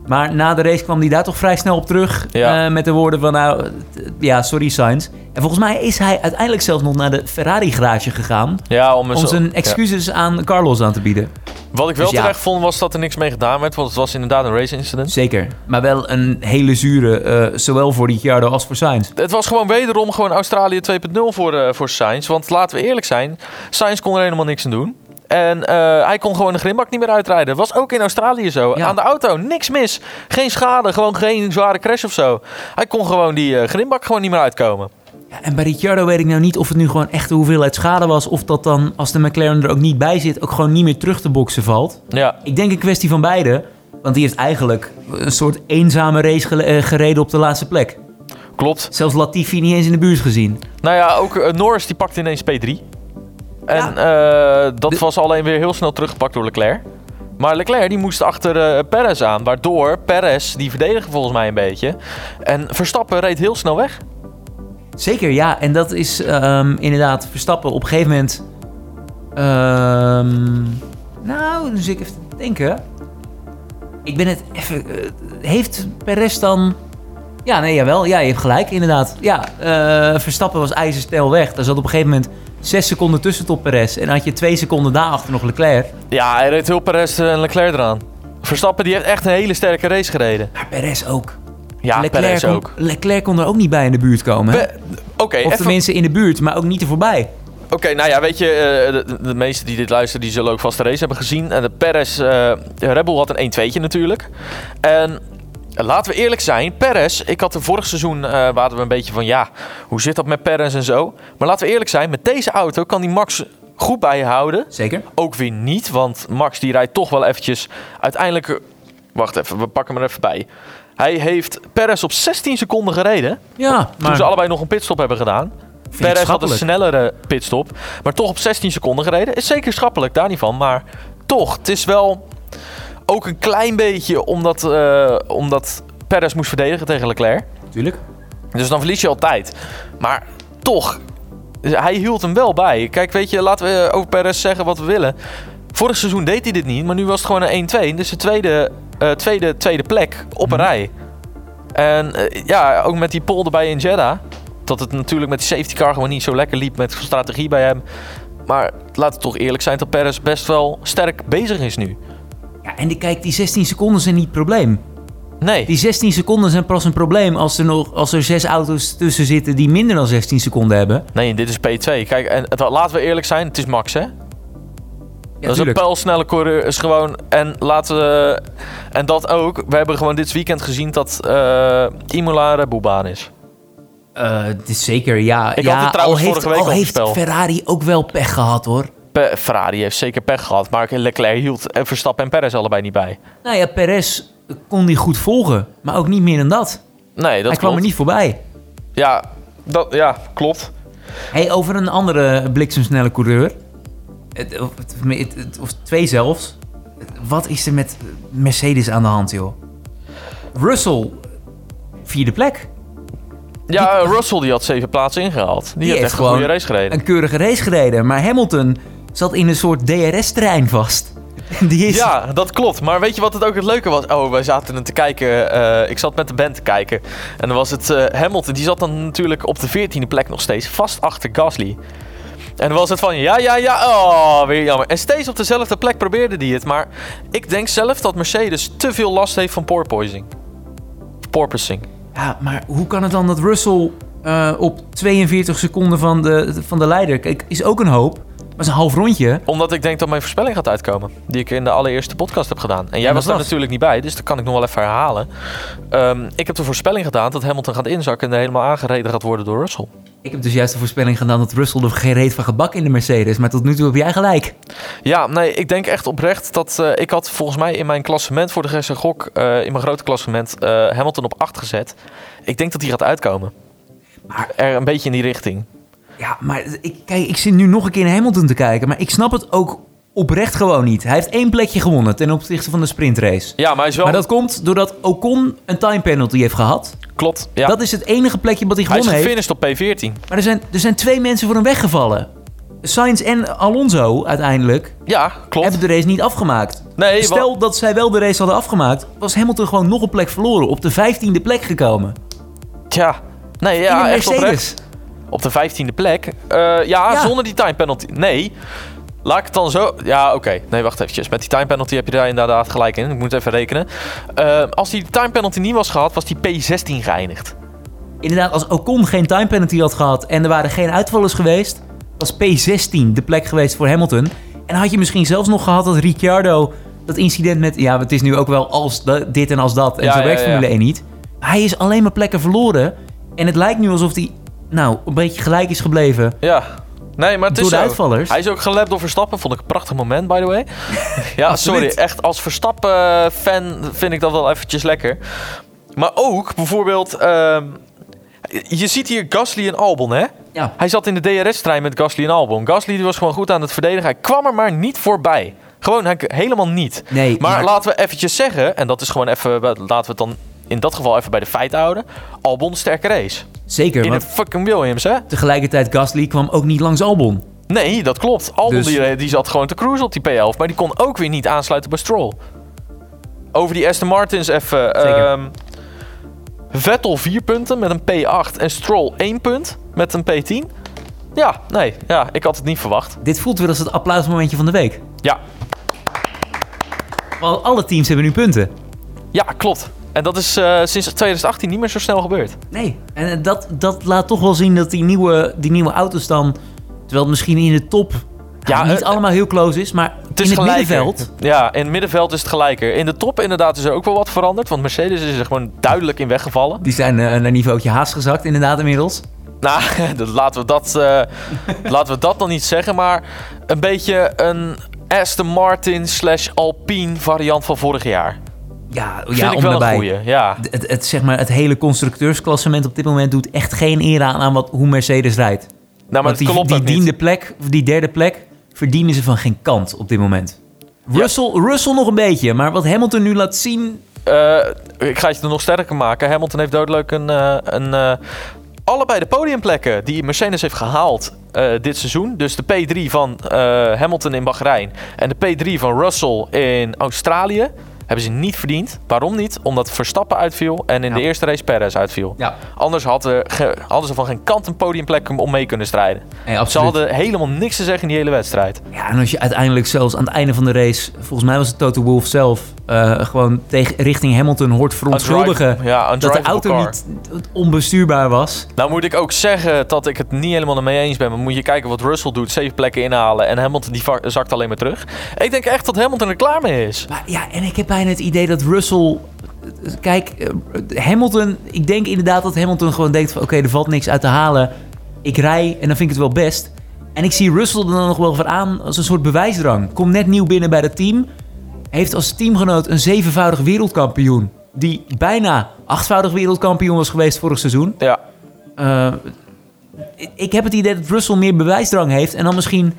S2: Maar na de race kwam hij daar toch vrij snel op terug.
S1: Ja.
S2: eh, met de woorden van, nou, t- t- ja, sorry Sainz. En volgens mij is hij uiteindelijk zelfs nog naar de Ferrari-garage gegaan...
S1: Ja, om, eens-
S2: om zijn
S1: ja.
S2: excuses aan Carlos aan te bieden.
S1: Wat ik wel
S2: Dus ja.
S1: terecht vond, was dat er niks mee gedaan werd. Want het was inderdaad een race-incident.
S2: Zeker. Maar wel een hele zure, eh, zowel voor Ricciardo als voor Sainz.
S1: Het was gewoon wederom gewoon Australië 2.0 voor, eh, voor Sainz. Want laten we eerlijk zijn, Sainz kon er helemaal niks aan doen. En eh, hij kon gewoon de grimbak niet meer uitrijden. Was ook in Australië zo.
S2: Ja.
S1: Aan de auto, niks mis. Geen schade, gewoon geen zware crash of zo. Hij kon gewoon die eh, grimbak gewoon niet meer uitkomen.
S2: Ja, en bij Ricciardo weet ik nou niet of het nu gewoon echt de hoeveelheid schade was. Of dat dan, als de McLaren er ook niet bij zit, ook gewoon niet meer terug te boksen valt.
S1: Ja,
S2: Ik denk een kwestie van beide. Want die heeft eigenlijk een soort eenzame race gele- eh, gereden op de laatste plek.
S1: klopt.
S2: Zelfs Latifi niet eens in de buurt gezien.
S1: Nou ja, ook eh, Norris die pakte ineens P3. En eh, dat
S2: De-
S1: was alleen weer heel snel teruggepakt door Leclerc. Maar Leclerc die moest achter eh, Perez aan. Waardoor Perez, die verdedigde volgens mij een beetje. En Verstappen reed heel snel weg.
S2: Zeker, ja. En dat is ehm, inderdaad Verstappen op een gegeven moment... ehm, nou, dus ik even te denken. Ik ben het even... eh, heeft Perez dan... Ja, nee, jawel. Ja, je hebt gelijk, inderdaad. Ja, eh, Verstappen was ijzerstijl weg. Daar zat op een gegeven moment zes seconden tussen tot Perez. En dan had je twee seconden daarachter nog Leclerc.
S1: Ja, hij reed heel Perez eh, en Leclerc eraan. Verstappen die heeft echt een hele sterke race gereden.
S2: Maar Perez ook.
S1: Ja, Perez
S2: kon,
S1: ook.
S2: Leclerc kon er ook niet bij in de buurt komen. hè?
S1: Pe- Oké,
S2: of
S1: even-
S2: tenminste in de buurt, maar ook niet er voorbij.
S1: Oké, nou ja, weet je, eh, de, de meesten die dit luisteren, die zullen ook vast de race hebben gezien. En de Perez, eh Red Bull had een 1-2'tje natuurlijk. En eh, laten we eerlijk zijn, Perez, ik had er vorig seizoen, eh waren we een beetje van, ja, hoe zit dat met Perez en zo. Maar laten we eerlijk zijn, met deze auto kan die Max goed bijhouden.
S2: Zeker.
S1: Ook weer niet, want Max die rijdt toch wel eventjes uiteindelijk... eh, Wacht even, we pakken hem er even bij. Hij heeft Perez op 16 seconden gereden.
S2: Ja,
S1: Toen
S2: maar...
S1: ze allebei nog een pitstop hebben gedaan.
S2: ik
S1: Perez had een
S2: schappelijk.
S1: snellere pitstop. Maar toch op 16 seconden gereden. Is zeker schappelijk, daar niet van. Maar toch, het is wel ook een klein beetje omdat, eh, omdat Perez moest verdedigen tegen Leclerc.
S2: Tuurlijk.
S1: Dus dan verlies je altijd. Maar toch, hij hield hem wel bij. Kijk, weet je, laten we eh, over Perez zeggen wat we willen. Vorig seizoen deed hij dit niet, maar nu was het gewoon een 1-2. Dus de tweede, eh, tweede, tweede plek op een
S2: Mhm.
S1: rij. En eh, ja, ook met die pole erbij in Jeddah. Dat het natuurlijk met die safety car gewoon niet zo lekker liep met strategie bij hem. Maar laten we toch eerlijk zijn dat Perez best wel sterk bezig is nu.
S2: Ja, en die, kijk, die 16 seconden zijn niet het probleem.
S1: Nee.
S2: Die 16 seconden zijn pas een probleem als er, nog, als er zes auto's tussen zitten die minder dan 16 seconden hebben.
S1: Nee, dit is P2. Kijk, en het, laten we eerlijk zijn, het is Max, hè? dat is een
S2: tuurlijk.
S1: pijlsnelle coureur. Is gewoon, en, laten we, en dat ook. We hebben gewoon dit weekend gezien dat eh Imola een Red Bull baan is.
S2: Eh, het is zeker, ja.
S1: Ik
S2: ja,
S1: had het trouwens
S2: al heeft,
S1: vorige week
S2: al
S1: al
S2: heeft
S1: voorspeld.
S2: Ferrari ook wel pech gehad, hoor.
S1: Pe- Ferrari heeft zeker pech gehad. Maar Leclerc hield eh, Verstappen en Perez allebei niet bij.
S2: Nou ja, Perez kon die goed volgen, maar ook niet meer dan dat.
S1: Nee, dat
S2: Hij kwam
S1: klopt.
S2: er niet voorbij.
S1: Ja, dat, ja, klopt.
S2: Hey, over een andere bliksemsnelle coureur. Het- Of, het- het- het- of twee zelfs. Wat is er met Mercedes aan de hand, joh? Russell, vierde plek.
S1: Ja, Russell die had zeven plaatsen ingehaald. Die, heeft echt een goede race gereden.
S2: een keurige race gereden. Maar Hamilton zat in een soort DRS-trein vast. Die is...
S1: Ja, dat klopt. Maar weet je wat het ook het leuke was? Oh, wij zaten er te kijken. eh, ik zat met de band te kijken. En dan was het eh, Hamilton. Die zat dan natuurlijk op de 14e plek nog steeds. Vast achter Gasly. En dan was het van ja, ja, ja. Oh, weer jammer. En steeds op dezelfde plek probeerde hij het. Maar ik denk zelf dat Mercedes te veel last heeft van porpoising. porpoising.
S2: Ja, maar hoe kan het dan dat Russell eh, op 42 seconden van de, van de leider... Kijk, is ook een hoop, maar is een half rondje.
S1: Omdat ik denk dat mijn voorspelling gaat uitkomen. Die ik in de allereerste podcast heb gedaan. En jij
S2: En
S1: was
S2: dat
S1: daar
S2: was?
S1: natuurlijk niet bij, dus dat kan ik nog wel even herhalen. Ehm, ik heb de voorspelling gedaan dat Hamilton gaat inzakken en helemaal aangereden gaat worden door Russell.
S2: Ik heb dus juist de voorspelling gedaan dat Russell er geen reet van gebak in de Mercedes. Maar tot nu toe heb jij gelijk.
S1: Ja, nee, ik denk echt oprecht dat eh, ik had volgens mij in mijn klassement voor de Gerse Gok, eh, in mijn grote klassement, eh, Hamilton op 8 gezet. Ik denk dat die gaat uitkomen.
S2: Maar-
S1: er een beetje in die richting.
S2: Ja, maar ik, kijk, ik zit nu nog een keer naar Hamilton te kijken. Maar ik snap het ook oprecht gewoon niet. Hij heeft één plekje gewonnen ten opzichte van de sprintrace.
S1: Ja, maar hij is wel.
S2: Maar dat komt doordat Ocon een time penalty heeft gehad.
S1: klopt. Ja.
S2: Dat is het enige plekje wat hij
S1: hij is
S2: gewonnen heeft.
S1: gefinished op P14.
S2: Maar er zijn, er zijn twee mensen voor hem weggevallen. Sainz en Alonso uiteindelijk
S1: Ja, klopt.
S2: hebben de race niet afgemaakt.
S1: Nee, wa-
S2: Stel dat zij wel de race hadden afgemaakt, was Hamilton gewoon nog een plek verloren. Op de 15e plek gekomen.
S1: Tja. Nee,
S2: in
S1: ja,
S2: de
S1: echt oprecht.
S2: Mercedes.
S1: Op de 15e plek. Eh, ja,
S2: Ja.
S1: zonder die time penalty. Nee. Laat ik het dan zo. Ja, oké. Nee, wacht eventjes. Met die time penalty heb je daar inderdaad gelijk in. Ik moet even rekenen. Eh, als die time penalty niet was gehad, was die P16 geëindigd.
S2: Inderdaad, als Ocon geen time penalty had gehad en er waren geen uitvallers geweest, was P16 de plek geweest voor Hamilton. En had je misschien zelfs nog gehad dat Ricciardo dat incident met. Ja, het is nu ook wel als da- dit en als dat. En
S1: Ja,
S2: zo
S1: ja,
S2: werkt
S1: ja.
S2: Formule 1 niet. Hij is alleen maar plekken verloren. En het lijkt nu alsof hij, nou, een beetje gelijk is gebleven.
S1: Ja. Nee, maar het
S2: Door
S1: is
S2: de
S1: zo.
S2: uitvallers?
S1: Hij is ook gelapt door Verstappen. Vond ik een prachtig moment, by the way. ja, sorry.
S2: Absoluut.
S1: Echt, als Verstappen-fan vind ik dat wel eventjes lekker. Maar ook, bijvoorbeeld... ehm, je ziet hier Gasly en Albon, hè?
S2: Ja,
S1: Hij zat in de DRS-trein met Gasly en Albon. Gasly die was gewoon goed aan het verdedigen. Hij kwam er maar niet voorbij. Gewoon hij, helemaal niet.
S2: Nee,
S1: maar,
S2: maar-
S1: laten we eventjes zeggen, en dat is gewoon even... Laten we het dan in dat geval even bij de feiten houden. Albon sterke race.
S2: zeker.
S1: In een
S2: Want
S1: fucking Williams, hè?
S2: tegelijkertijd, Gasly kwam ook niet langs Albon.
S1: Nee, dat klopt. Albon
S2: Dus-
S1: die, eh, die zat gewoon te cruisen op die P11, maar die kon ook weer niet aansluiten bij Stroll. Over die Aston Martins even.
S2: Zeker.
S1: ehm, Vettel 4 punten met een P8 en Stroll 1 punt met een P10. Ja, nee, ja, ik had het niet verwacht.
S2: Dit voelt weer als het applausmomentje van de week.
S1: Ja,
S2: Want alle teams hebben nu punten.
S1: ja klopt. En dat is eh, sinds 2018 niet meer zo snel gebeurd.
S2: Nee, en eh, dat, dat laat toch wel zien dat die nieuwe, die nieuwe auto's dan... terwijl het misschien in de top
S1: Ja,
S2: ja, niet
S1: eh,
S2: allemaal heel close is... maar
S1: Het is
S2: in het
S1: gelijker.
S2: middenveld...
S1: Ja, in het middenveld is het gelijker. In de top inderdaad is er ook wel wat veranderd, want Mercedes is er gewoon duidelijk in weggevallen.
S2: die zijn eh, naar niveautje haast gezakt inderdaad inmiddels.
S1: Nou, dat, laten, we dat, eh, laten we dat dan niet zeggen. Maar een beetje een Aston Martin slash Alpine variant van vorig jaar.
S2: Ja,
S1: Vind
S2: ja
S1: ik
S2: om
S1: wel
S2: daarbij.
S1: een goeie. Ja.
S2: Het, het, zeg maar, het hele constructeursklassement op dit moment doet echt geen eer aan, aan wat, hoe Mercedes rijdt.
S1: Nou, maar
S2: Want
S1: het
S2: die,
S1: klopt
S2: die
S1: ook niet.
S2: diende plek, of die derde plek, verdienen ze van geen kant op dit moment. Russell, Russell nog een beetje, maar wat Hamilton nu laat zien...
S1: Eh, ik ga het er nog sterker maken. Hamilton heeft doodleuk een... eh, een eh, allebei de podiumplekken die Mercedes heeft gehaald eh, dit seizoen. Dus de P3 van eh, Hamilton in Bahrein en de P3 van Russell in Australië... hebben ze niet verdiend. Waarom niet? Omdat Verstappen uitviel en in
S2: Ja.
S1: de eerste race Perez uitviel.
S2: Ja,
S1: Anders had er ge- hadden ze van geen kant een podiumplek om mee kunnen strijden.
S2: nee,
S1: Ze hadden helemaal niks te zeggen in die hele wedstrijd.
S2: Ja, en als je uiteindelijk zelfs aan het einde van de race, volgens mij was het Toto Wolff zelf, eh, gewoon tegen, richting Hamilton hoort verontschuldigen
S1: Undrive- Ja,
S2: dat de
S1: undrivable
S2: auto
S1: car.
S2: niet onbestuurbaar was.
S1: Nou moet ik ook zeggen dat ik het niet helemaal mee eens ben. Maar moet je kijken wat Russell doet. Zeven plekken inhalen en Hamilton die va- zakt alleen maar terug. Ik denk echt dat Hamilton er klaar mee is.
S2: Maar ja, en ik heb bijna het idee dat Russell... Kijk, eh, Hamilton... Ik denk inderdaad dat Hamilton gewoon denkt van... Oké, er valt niks uit te halen. Ik rij en dan vind ik het wel best. En ik zie Russell er dan nog wel voor aan als een soort bewijsdrang. Komt net nieuw binnen bij het team. Heeft als teamgenoot een zevenvoudig wereldkampioen. Die bijna achtvoudig wereldkampioen was geweest vorig seizoen.
S1: Ja,
S2: Eh, ik- ik heb het idee dat Russell meer bewijsdrang heeft en dan misschien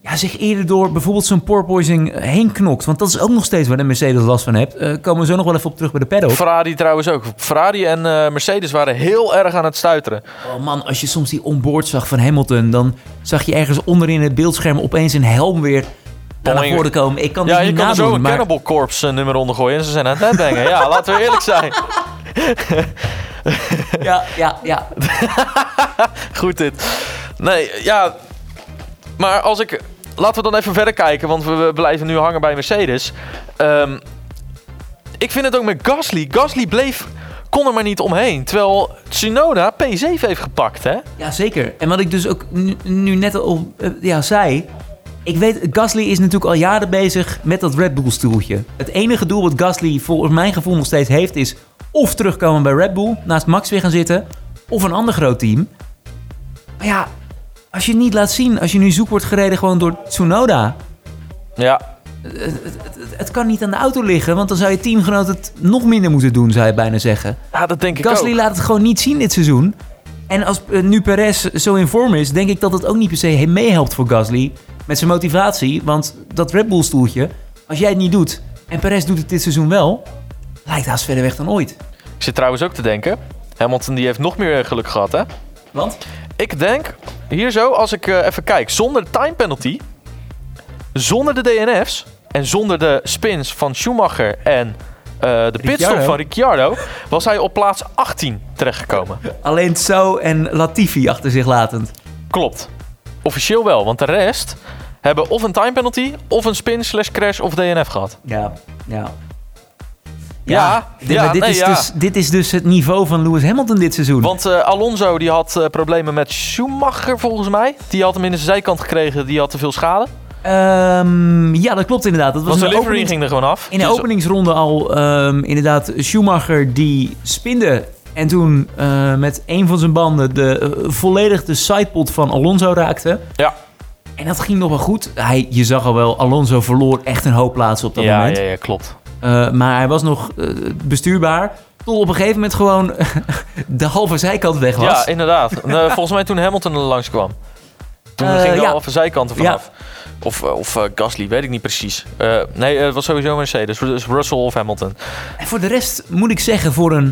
S2: ja, zich eerder door bijvoorbeeld zijn porpoising eh, heen knokt. Want dat is ook nog steeds waar de Mercedes last van heeft. Eh, komen we zo nog wel even op terug bij de paddock.
S1: Ferrari trouwens ook. Ferrari en eh, Mercedes waren heel erg aan het stuiteren.
S2: Oh man, als je soms die onboard zag van Hamilton, dan zag je ergens onderin het beeldscherm opeens een helm weer naar
S1: Boing.
S2: voren komen. Ik kan
S1: Ja,
S2: dit
S1: je
S2: dus niet
S1: kan er zo
S2: nadoen,
S1: een
S2: maar
S1: Cannibal Corpse eh, nummer onder gooien en ze zijn aan het netbangen. ja, laten we eerlijk zijn.
S2: ja, ja, ja.
S1: Goed dit. Nee, ja. Maar als ik... Laten we dan even verder kijken, want we, we blijven nu hangen bij Mercedes. Ehm, ik vind het ook met Gasly. Gasly bleef kon er maar niet omheen. Terwijl Tsunoda P7 heeft gepakt, hè?
S2: Ja, zeker. En wat ik dus ook nu, nu net al eh, ja, zei. Ik weet, Gasly is natuurlijk al jaren bezig met dat Red Bull stoeltje. Het enige doel wat Gasly volgens mijn gevoel nog steeds heeft is... of terugkomen bij Red Bull, naast Max weer gaan zitten... of een ander groot team. Maar ja, als je het niet laat zien... als je nu zoek wordt gereden gewoon door Tsunoda...
S1: Ja.
S2: het kan niet aan de auto liggen... want dan zou je teamgenoot het nog minder moeten doen, zou je bijna zeggen.
S1: Ja, dat denk ik
S2: Gasly
S1: ook.
S2: laat het gewoon niet zien dit seizoen. En als eh, nu Perez zo in vorm is, denk ik dat het ook niet per se he- meehelpt voor Gasly. Met zijn motivatie, want dat Red Bull stoeltje, als jij het niet doet en Perez doet het dit seizoen wel, lijkt haast verder weg dan ooit.
S1: Ik zit trouwens ook te denken. Hamilton die heeft nog meer eh, geluk gehad, hè?
S2: Want?
S1: Ik denk, hier zo, als ik eh, even kijk, zonder time penalty, zonder de DNF's en zonder de spins van Schumacher en eh, de pitstop
S2: Ricciardo.
S1: van Ricciardo, was hij op plaats 18 terechtgekomen.
S2: Alleen Zo en Latifi achter zich latend.
S1: Klopt. Officieel wel, want de rest hebben of een time penalty, of een spin slash crash of DNF gehad.
S2: Ja, ja.
S1: Ja,
S2: dit,
S1: ja,
S2: maar dit,
S1: nee,
S2: is
S1: ja.
S2: Dus, dit is dus het niveau van Lewis Hamilton dit seizoen.
S1: Want eh, Alonso die had eh, problemen met Schumacher volgens mij. Die had hem in zijn zijkant gekregen, die had te veel schade.
S2: Ehm, ja, dat klopt inderdaad. Dat was
S1: Want
S2: een
S1: zijn livery
S2: opening-
S1: ging er gewoon af.
S2: In de
S1: Dus-
S2: openingsronde al ehm, inderdaad Schumacher die spinde. En toen eh, met een van zijn banden de, eh, volledig de sidepod van Alonso raakte.
S1: Ja.
S2: En dat ging nog wel goed. Hij, je zag al wel, Alonso verloor echt een hoop plaatsen op dat
S1: Ja,
S2: moment.
S1: ja, ja, klopt.
S2: Eh, maar hij was nog eh, bestuurbaar. Tot op een gegeven moment gewoon de halve zijkant weg was.
S1: Ja, inderdaad. En, eh, volgens mij toen Hamilton er langs kwam. Toen
S2: Eh,
S1: ging er
S2: ja.
S1: al van zijkanten
S2: Ja.
S1: vanaf. Of, eh, of eh, Gasly, weet ik niet precies. Eh, nee, eh, het was sowieso Mercedes. Dus Russell of Hamilton.
S2: En voor de rest moet ik zeggen, voor een,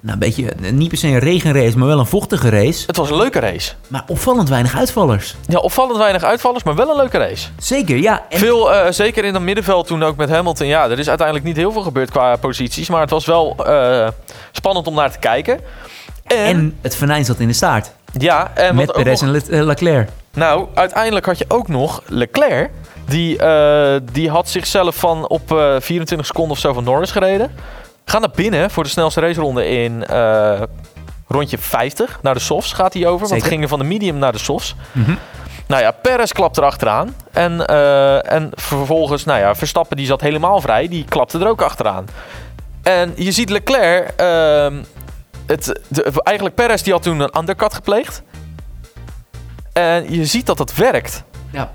S2: nou, een beetje, eh, niet per se een regenrace, maar wel een vochtige race.
S1: Het was een leuke race.
S2: Maar opvallend weinig uitvallers.
S1: Ja, opvallend weinig uitvallers, maar wel een leuke race.
S2: Zeker, ja. En
S1: Veel, eh, zeker in dat middenveld toen ook met Hamilton. Ja, er is uiteindelijk niet heel veel gebeurd qua posities. Maar het was wel eh, spannend om naar te kijken. En,
S2: En het venijn zat in de staart.
S1: ja, en
S2: met
S1: wat ook
S2: Perez
S1: nog,
S2: en Le- eh, Leclerc.
S1: Nou, uiteindelijk had je ook nog Leclerc. Die, eh, die had zichzelf van op eh, 24 seconden of zo van Norris gereden. Gaat naar binnen voor de snelste raceronde in eh, rondje 50. Naar de softs gaat hij over. Want
S2: Zeker.
S1: het ging er van de medium naar de softs. Nou ja, Perez klapt erachteraan. En, eh, en vervolgens, nou ja, Verstappen die zat helemaal vrij. Die klapte er ook achteraan. En je ziet Leclerc... ehm, het, de- eigenlijk Perez die had toen een undercut gepleegd. En je ziet dat dat werkt.
S2: Ja.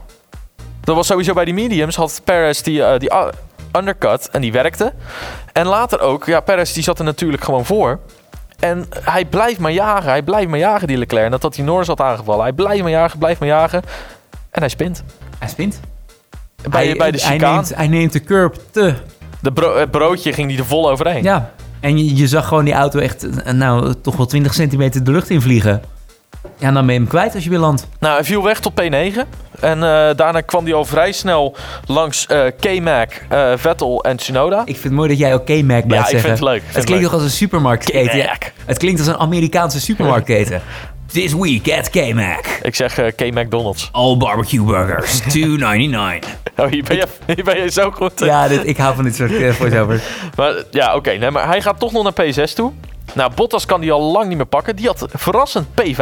S1: Dat was sowieso bij die mediums. Had Perez die, eh, die u- undercut en die werkte. En later ook, ja, Perez die zat er natuurlijk gewoon voor. En hij blijft maar jagen, hij blijft maar jagen, die Leclerc. Nadat hij Norris had aangevallen. Hij blijft maar jagen, blijft maar jagen. En hij spint.
S2: Hij spint.
S1: Bij,
S2: hij,
S1: bij de
S2: hij,
S1: chicane.
S2: neemt, hij neemt de curb te.
S1: De bro- het broodje ging hij er vol overheen.
S2: Ja. En je, je zag gewoon die auto echt, eh, nou, toch wel 20 centimeter de lucht in vliegen. Ja, en dan ben je hem kwijt als je weer landt.
S1: Nou, hij viel weg tot P9. En eh, daarna kwam hij al vrij snel langs eh, K-Mac, eh, Vettel en Tsunoda.
S2: Ik vind het mooi dat jij oké Mac
S1: ja, ik
S2: blijft zeggen.
S1: vind het leuk. Ik vind
S2: het klinkt
S1: leuk.
S2: toch als een supermarktketen. Ja,
S1: K-Mac.
S2: het klinkt als een Amerikaanse supermarktketen. This week at K-Mac.
S1: Ik zeg eh, K-McDonald's.
S2: All barbecue burgers. 2,99.
S1: Oh, hier ben, je, hier ben je zo goed. in.
S2: ja, dit, ik hou van dit soort eh, voice-overs.
S1: Maar, ja, oké. nee, maar hij gaat toch nog naar P6 toe. Nou, Bottas kan die al lang niet meer pakken. Die had verrassend P5.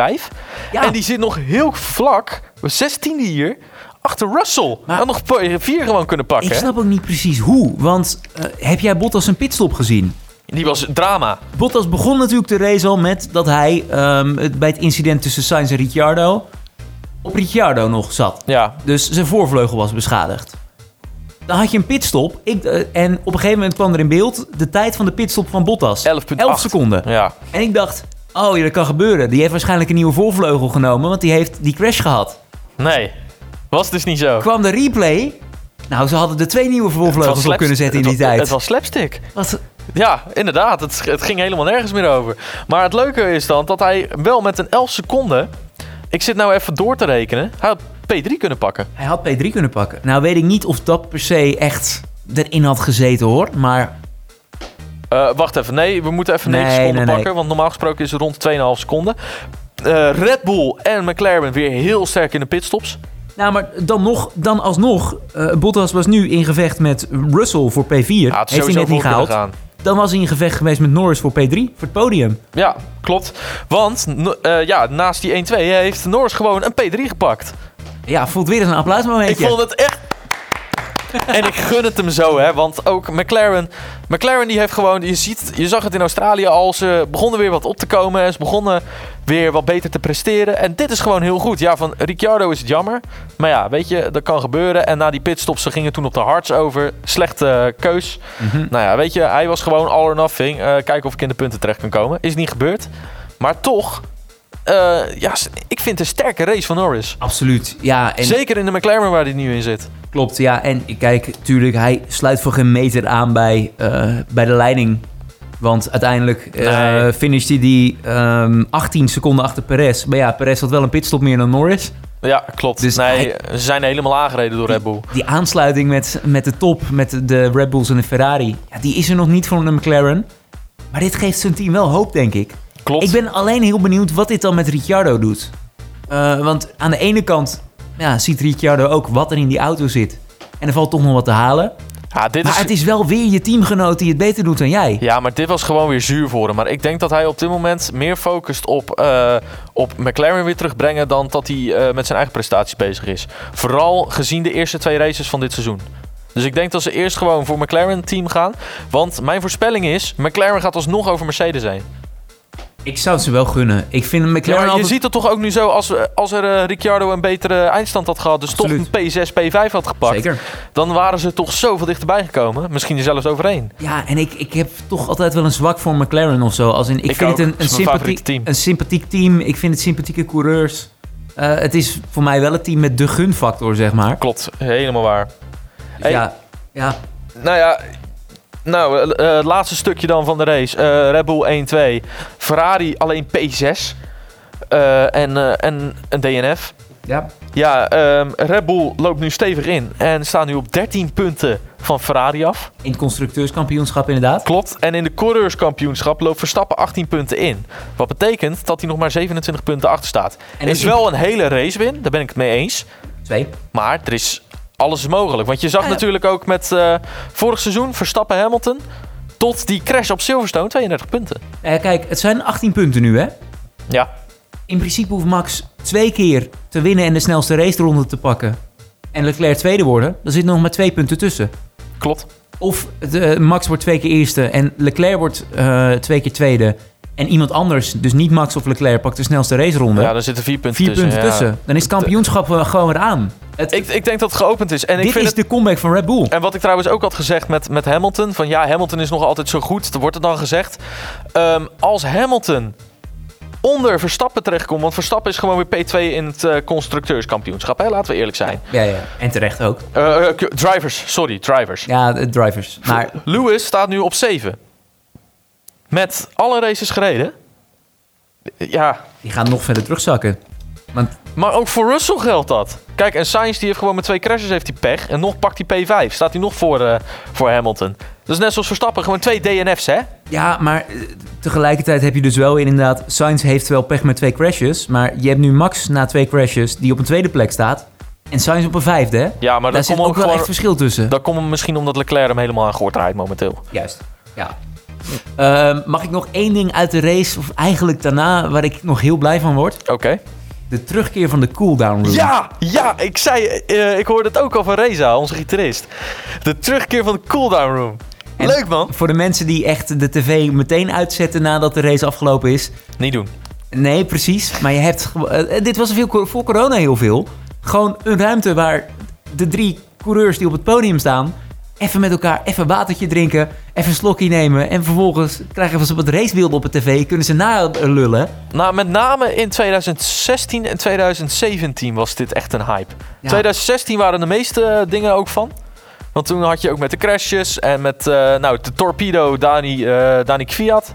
S2: Ja.
S1: En die zit nog heel vlak, 16e hier, achter Russell.
S2: Maar-
S1: Had nog P4 gewoon kunnen pakken.
S2: Ik
S1: hè?
S2: snap ook niet precies hoe. Want eh, heb jij Bottas een pitstop gezien?
S1: Die was drama.
S2: Bottas begon natuurlijk de race al met dat hij ehm, het- bij het incident tussen Sainz en Ricciardo op Ricciardo nog zat.
S1: Ja.
S2: Dus zijn voorvleugel was beschadigd. Dan had je een pitstop ik, eh, en op een gegeven moment kwam er in beeld de tijd van de pitstop van Bottas.
S1: 11,8.
S2: 11 seconden.
S1: Ja.
S2: En ik dacht, oh ja, dat kan gebeuren. Die heeft waarschijnlijk een nieuwe voorvleugel genomen, want die heeft die crash gehad.
S1: Nee. Was dus niet zo.
S2: Kwam de replay. Nou, ze hadden er twee nieuwe
S1: Het was
S2: voorvleugels op
S1: slaps-
S2: kunnen zetten in die
S1: het wa-
S2: tijd.
S1: Het was slapstick.
S2: Wat-
S1: Ja, inderdaad. Het, het ging helemaal nergens meer over. Maar het leuke is dan dat hij wel met een 11 seconden... Ik zit nou even door te rekenen. Hij had P3 kunnen pakken.
S2: Hij had P3 kunnen pakken. Nou weet ik niet of dat per se echt erin had gezeten hoor. Maar
S1: Eh, wacht even, nee, we moeten even 9
S2: Nee,
S1: seconden
S2: nee, nee.
S1: pakken. Want normaal gesproken is het rond 2,5 seconden. Eh, Red Bull en McLaren weer heel sterk in de pitstops.
S2: Nou, maar dan, nog, dan alsnog, eh, Bottas was nu in gevecht met Russell voor P4.
S1: Ja, het is
S2: Heeft hij
S1: sowieso
S2: net niet
S1: voor kunnen
S2: gehaald.
S1: gaan.
S2: dan was hij in gevecht geweest met Norris voor P3, voor het podium.
S1: Ja, klopt. Want no- eh, ja, naast die 1-2 heeft Norris gewoon een P3 gepakt.
S2: Ja, voelt weer eens een
S1: Ik
S2: applausmomentje.
S1: vond het echt. En ik gun het hem zo, hè, want ook McLaren. McLaren die heeft gewoon. Je, ziet, je zag het in Australië al. Ze begonnen weer wat op te komen. En ze begonnen weer wat beter te presteren. En dit is gewoon heel goed. Ja, van Ricciardo is het jammer. Maar ja, weet je, dat kan gebeuren. En na die pitstops, ze gingen toen op de hards over. Slechte eh, keus.
S2: Mhm.
S1: Nou ja, weet je, hij was gewoon all or nothing. Eh, kijken of ik in de punten terecht kan komen. Is niet gebeurd. Maar toch, eh, ja, ik vind het een sterke race van Norris.
S2: Absoluut. Ja, en
S1: Zeker in de McLaren waar hij nu in zit.
S2: klopt. Ja, en kijk, tuurlijk, hij sluit voor geen meter aan bij, eh, bij de leiding. Want uiteindelijk eh
S1: Nee.
S2: finisht hij die ehm, 18 seconden achter Perez. Maar ja, Perez had wel een pitstop meer dan Norris.
S1: Ja, klopt.
S2: Dus
S1: nee, ze zijn helemaal aangereden door Red Bull.
S2: Die aansluiting met, met de top, met de- de Red Bulls en de Ferrari, ja, die is er nog niet voor een McLaren. Maar dit geeft zijn team wel hoop, denk ik.
S1: Klopt.
S2: Ik ben alleen heel benieuwd wat dit dan met Ricciardo doet. Eh, want aan de ene kant ja, ziet Ricciardo ook wat er in die auto zit. En er valt toch nog wat te halen.
S1: ja, dit
S2: Maar
S1: is...
S2: het is wel weer je teamgenoot die het beter doet dan jij.
S1: ja, maar dit was gewoon weer zuur voor hem. Maar ik denk dat hij op dit moment meer focust op, eh, op McLaren weer terugbrengen... dan dat hij eh, met zijn eigen prestaties bezig is. Vooral gezien de eerste twee races van dit seizoen. Dus ik denk dat ze eerst gewoon voor McLaren-team gaan. Want mijn voorspelling is, McLaren gaat alsnog over Mercedes heen.
S2: Ik zou het ze wel gunnen. Ik vind McLaren
S1: Ja, maar je
S2: altijd...
S1: ziet het toch ook nu zo, als, als er eh, Ricciardo een betere eindstand had gehad... dus
S2: Absoluut.
S1: toch een P6, P5 had gepakt...
S2: Zeker.
S1: dan waren ze toch zoveel dichterbij gekomen. Misschien er zelfs overheen.
S2: Ja, en ik, ik heb toch altijd wel een zwak voor McLaren of zo. Als in, ik,
S1: Ik
S2: vind
S1: ook.
S2: het een,
S1: Het
S2: een,
S1: is mijn favoriete
S2: sympathiek,
S1: team.
S2: een sympathiek team. Ik vind het sympathieke coureurs. Eh, het is voor mij wel het team met de gunfactor, zeg maar. Dus
S1: Klopt, helemaal waar. Hey.
S2: Ja, ja,
S1: Nou ja, nou, eh, eh, het laatste stukje dan van de race. Eh Red Bull 1-2, Ferrari alleen P6 eh, en, eh, en een DNF.
S2: ja.
S1: Ja, ehm, Red Bull loopt nu stevig in en staat nu op 13 punten van Ferrari af.
S2: In het constructeurskampioenschap inderdaad.
S1: Klopt. En in de coureurskampioenschap loopt Verstappen 18 punten in. Wat betekent dat hij nog maar 27 punten achter staat.
S2: En
S1: is
S2: in-
S1: wel een hele race win, daar ben ik het mee eens.
S2: Twee.
S1: Maar er is alles is mogelijk. Want je zag
S2: Ja, ja.
S1: natuurlijk ook met eh, vorig seizoen Verstappen Hamilton. Tot die crash op Silverstone, 32 punten.
S2: Eh, kijk, het zijn 18 punten nu, hè?
S1: Ja,
S2: In principe hoeft Max twee keer te winnen en de snelste raceronde te pakken. En Leclerc tweede worden. Er zitten nog maar twee punten tussen.
S1: klopt.
S2: Of de- Max wordt twee keer eerste en Leclerc wordt eh, twee keer tweede. En iemand anders, dus niet Max of Leclerc, pakt de snelste raceronde.
S1: Ja, daar zitten vier punten
S2: Vier
S1: tussen.
S2: punten
S1: ja.
S2: tussen. Dan is het kampioenschap eh, gewoon weer aan. Het,
S1: Ik, ik denk dat het geopend is. En ik
S2: dit
S1: vind
S2: is
S1: het,
S2: de comeback van Red Bull.
S1: en wat ik trouwens ook had gezegd met, met Hamilton. Van ja, Hamilton is nog altijd zo goed. Er wordt het dan gezegd. Ehm, als Hamilton onder Verstappen terechtkomt. Want Verstappen is gewoon weer P2 in het eh, constructeurskampioenschap. Hè? Laten we eerlijk zijn.
S2: Ja, ja. En terecht ook.
S1: Eh, eh, drivers, sorry, drivers.
S2: Ja, de drivers. Maar
S1: Lewis staat nu op 7. Met alle races gereden. Ja,
S2: die gaan nog verder terugzakken. Want
S1: maar ook voor Russell geldt dat. Kijk, en Sainz die heeft gewoon met twee crashes heeft hij pech. En nog pakt hij P5. Staat hij nog voor, eh, voor Hamilton. Dat is net zoals Verstappen. Gewoon twee DNF's, hè?
S2: Ja, maar eh, tegelijkertijd heb je dus wel inderdaad... Sainz heeft wel pech met twee crashes. Maar je hebt nu Max na twee crashes die op een tweede plek staat. En Sainz op een vijfde, hè?
S1: Ja, maar
S2: Daar
S1: dat
S2: zit
S1: komt
S2: ook
S1: ook
S2: wel echt
S1: gewoon...
S2: verschil tussen.
S1: Dat komt misschien omdat Leclerc hem helemaal aan gehoord rijdt momenteel.
S2: Juist, ja. Ehm, mag ik nog één ding uit de race, of eigenlijk daarna, waar ik nog heel blij van word?
S1: Oké.
S2: De terugkeer van de cooldown room.
S1: Ja, ja, ik zei... eh, ik hoorde het ook al van Reza, onze gitarist. De terugkeer van de cooldown room.
S2: En-
S1: Leuk, man.
S2: Voor de mensen die echt de tv meteen uitzetten nadat de race afgelopen is.
S1: Niet doen.
S2: Nee, precies. Maar je hebt. gewo- eh, dit was er veel, voor corona heel veel. Gewoon een ruimte waar de drie coureurs die op het podium staan. Even met elkaar, even een watertje drinken, even een slokje nemen. En vervolgens krijgen we ze wat racebeelden op het tv. Kunnen ze nalullen.
S1: Nou, met name in 2016 en 2017 was dit echt een hype.
S2: Ja.
S1: 2016 waren de meeste eh, dingen ook van. Want toen had je ook met de crashes en met eh, nou, de torpedo Dani, eh, Dani Kviat.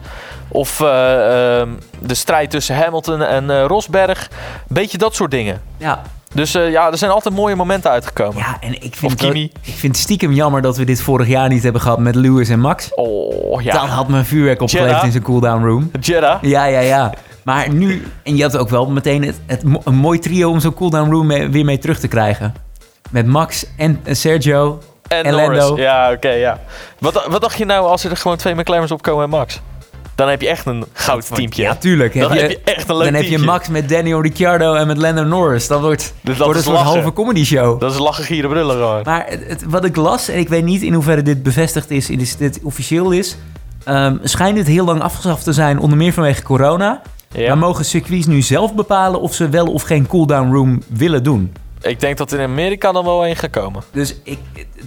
S1: Of eh, ehm, de strijd tussen Hamilton en eh, Rosberg. Beetje dat soort dingen.
S2: Ja,
S1: Dus eh, ja, er zijn altijd mooie momenten uitgekomen.
S2: ja en ik
S1: Of
S2: vind, het,
S1: Kimi.
S2: wel- ik vind het stiekem jammer dat we dit vorig jaar niet hebben gehad met Lewis en Max.
S1: Oh
S2: Dan
S1: ja.
S2: had mijn vuurwerk opgeleverd
S1: Jeddah.
S2: in zijn cooldown room.
S1: Jeddah.
S2: Ja, ja, ja. Maar nu, en je had ook wel meteen het, het, mo- een mooi trio om zo'n cooldown room mee- weer mee terug te krijgen. Met Max en en Sergio
S1: En,
S2: En
S1: Norris.
S2: Lando.
S1: Ja, oké, ja. Wat, wat dacht je nou als er gewoon twee McLaren's opkomen en Max? Dan heb je echt een goud teampje.
S2: Ja, tuurlijk.
S1: dan
S2: Heb
S1: heb
S2: je-
S1: je echt een leuk
S2: dan heb je
S1: teampje.
S2: Max met Daniel Ricciardo en met Lando Norris. Dat wordt,
S1: Dus dat
S2: wordt
S1: is
S2: een soort
S1: lachen.
S2: halve comedy show.
S1: Dat is lachen, gieren, brullen gewoon.
S2: Maar het, het- wat ik las, en ik weet niet in hoeverre dit bevestigd is, dit, dit officieel is, ehm, schijnt dit heel lang afgeschaft te zijn, onder meer vanwege corona.
S1: Ja.
S2: Maar mogen circuits nu zelf bepalen of ze wel of geen cooldown room willen doen.
S1: Ik denk dat in Amerika dan wel één gaat komen.
S2: Dus ik,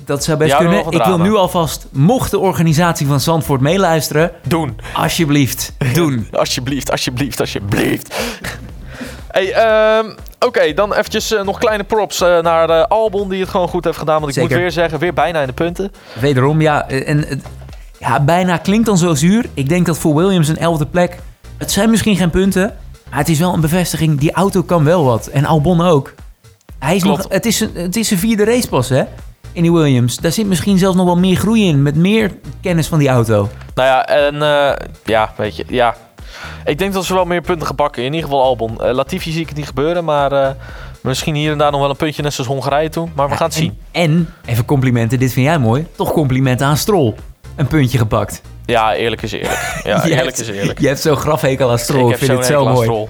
S2: dat zou best
S1: Ja,
S2: kunnen.
S1: nog een
S2: Ik wil
S1: drama.
S2: nu alvast, mocht de organisatie van Zandvoort meeluisteren,
S1: Doen.
S2: alsjeblieft, doen.
S1: Alsjeblieft, alsjeblieft, alsjeblieft. hey, ehm, oké, dan eventjes eh, nog kleine props eh, naar eh, Albon die het gewoon goed heeft gedaan. Want ik
S2: Zeker.
S1: moet weer zeggen, weer bijna in de punten.
S2: Wederom, ja. En, het- ja, bijna klinkt dan zo zuur. Ik denk dat voor Williams een elfde plek... Het zijn misschien geen punten, maar het is wel een bevestiging. Die auto kan wel wat. En Albon ook. Hij is
S1: Klopt.
S2: nog, het, is een, het is een vierde race pas, hè? In die Williams. Daar zit misschien zelfs nog wel meer groei in. Met meer kennis van die auto.
S1: Nou ja, en eh, ja, weet je, ja. Ik denk dat ze wel meer punten gaan pakken. In ieder geval Albon. Eh, Latifi zie ik het niet gebeuren, maar eh, misschien hier en daar nog wel een puntje net zoals Hongarije toen. Maar we gaan het
S2: en,
S1: zien.
S2: En, even complimenten. Dit vind jij mooi. Toch complimenten aan Stroll. Een puntje gepakt.
S1: Ja, eerlijk is eerlijk. Ja,
S2: Je
S1: eerlijk
S2: hebt-
S1: is eerlijk.
S2: Je hebt zo'n grafhekel aan Stroll. Ik, vind
S1: zo'n
S2: het zo
S1: hekel aan
S2: mooi.
S1: Stroll.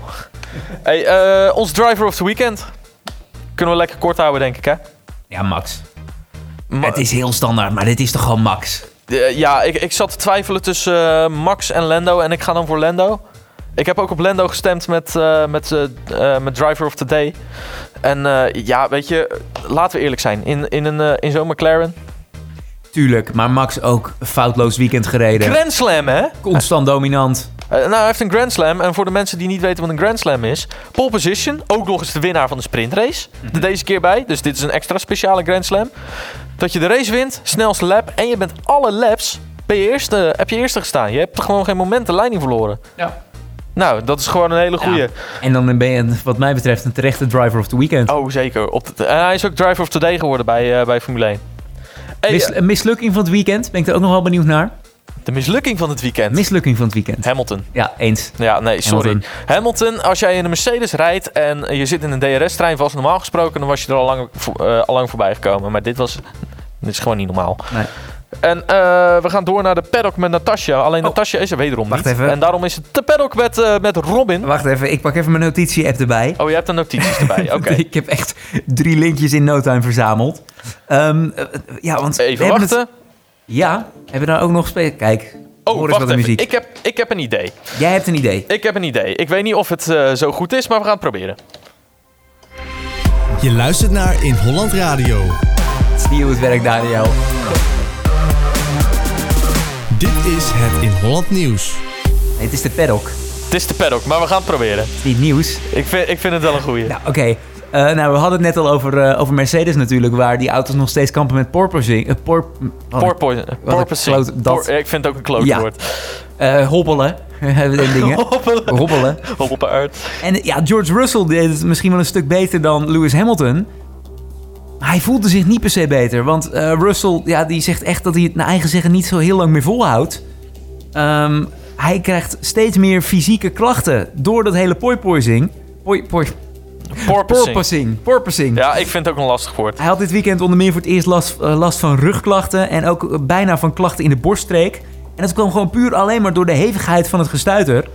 S1: Hey, eh, ons driver of the weekend. Kunnen we lekker kort houden, denk ik, hè?
S2: Ja, Max.
S1: Ma-
S2: het is heel standaard, maar dit is toch gewoon Max?
S1: Eh, ja, ik, ik zat te twijfelen tussen eh, Max en Lando. En ik ga dan voor Lando. Ik heb ook op Lando gestemd met, eh, met, eh, eh, met Driver of the Day. En eh, ja, weet je, laten we eerlijk zijn. In, in, een, eh, in zo'n McLaren.
S2: Tuurlijk, maar Max ook foutloos weekend gereden.
S1: Grand Slam, hè?
S2: Constant dominant.
S1: Eh, nou, hij heeft een Grand Slam. En voor de mensen die niet weten wat een Grand Slam is. Pole Position, ook nog eens de winnaar van de sprintrace. Er deze keer bij. Dus dit is een extra speciale Grand Slam. Dat je de race wint, snelste lap. En je bent alle laps. Ben je eerste, heb je eerste gestaan. Je hebt gewoon geen moment de leiding verloren.
S2: Ja.
S1: Nou, dat is gewoon een hele goeie.
S2: En dan ben je, wat mij betreft, een terechte driver of the weekend.
S1: Oh, zeker. Op de- en hij is ook driver of the day geworden bij, eh, bij Formule 1. Hey,
S2: Mis-
S1: eh,
S2: een mislukking van het weekend, ben ik er ook nog wel benieuwd naar.
S1: de mislukking van het weekend.
S2: Mislukking van het weekend.
S1: Hamilton.
S2: Ja, eens.
S1: Ja, nee, sorry. Hamilton.
S2: Hamilton.
S1: als jij in een Mercedes rijdt en je zit in een DRS-trein, was normaal gesproken, dan was je er al lang, vo- eh, al lang voorbij gekomen. Maar dit was... Dit is gewoon niet normaal.
S2: Nee.
S1: En eh, we gaan door naar de paddock met Natasja. Alleen
S2: Oh.
S1: Natasja is er wederom
S2: Wacht
S1: niet.
S2: even.
S1: En daarom is het de paddock met, eh, met Robin.
S2: Wacht even, ik pak even mijn notitie-app erbij.
S1: Oh, je hebt de notities erbij. Oké.
S2: ik heb echt drie linkjes in no time verzameld. Ehm, eh, eh, ja, want we
S1: Even
S2: hebben het-
S1: wachten.
S2: ja, hebben we daar ook nog... spe- Kijk,
S1: Oh,
S2: hoor
S1: wacht
S2: eens wat de
S1: even.
S2: muziek.
S1: Ik heb, ik heb een idee.
S2: Jij hebt een idee.
S1: Ik heb een idee. Ik weet niet of het eh, zo goed is, maar we gaan het proberen.
S3: Je luistert naar In Holland Radio.
S2: Zie je hoe het werkt, Daniel.
S3: Dit is het In Holland Nieuws.
S2: Nee, het is de paddock.
S1: Het is de paddock, maar we gaan het proberen.
S2: Het is niet nieuws.
S1: Ik vind, ik vind het wel een goeie.
S2: Nou, oké. Eh, nou, we hadden het net al over, eh, over Mercedes natuurlijk, waar die auto's nog steeds kampen met porpoising. eh, por, wat-
S1: Porpoise-
S2: wat een
S1: porpoising.
S2: klote- dat-
S1: Por- ik vind het ook een kloot
S2: Ja.
S1: woord.
S2: eh, hobbelen. hebben we die dingen.
S1: Hoppelen.
S2: Hobbelen.
S1: Hoppelen uit.
S2: En eh, ja, George Russell deed het misschien wel een stuk beter dan Lewis Hamilton. Maar hij voelde zich niet per se beter. Want eh, Russell, ja, die zegt echt dat hij het naar eigen zeggen niet zo heel lang meer volhoudt. Ehm, hij krijgt steeds meer fysieke klachten door dat hele porpoising. Poi, poi,
S1: Porpoising.
S2: porpoising. Porpoising.
S1: Ja, ik vind het ook een lastig woord.
S2: Hij had dit weekend onder meer voor het eerst last, eh, last van rugklachten en ook eh, bijna van klachten in de borststreek. En dat kwam gewoon puur alleen maar door de hevigheid van het gestuiter.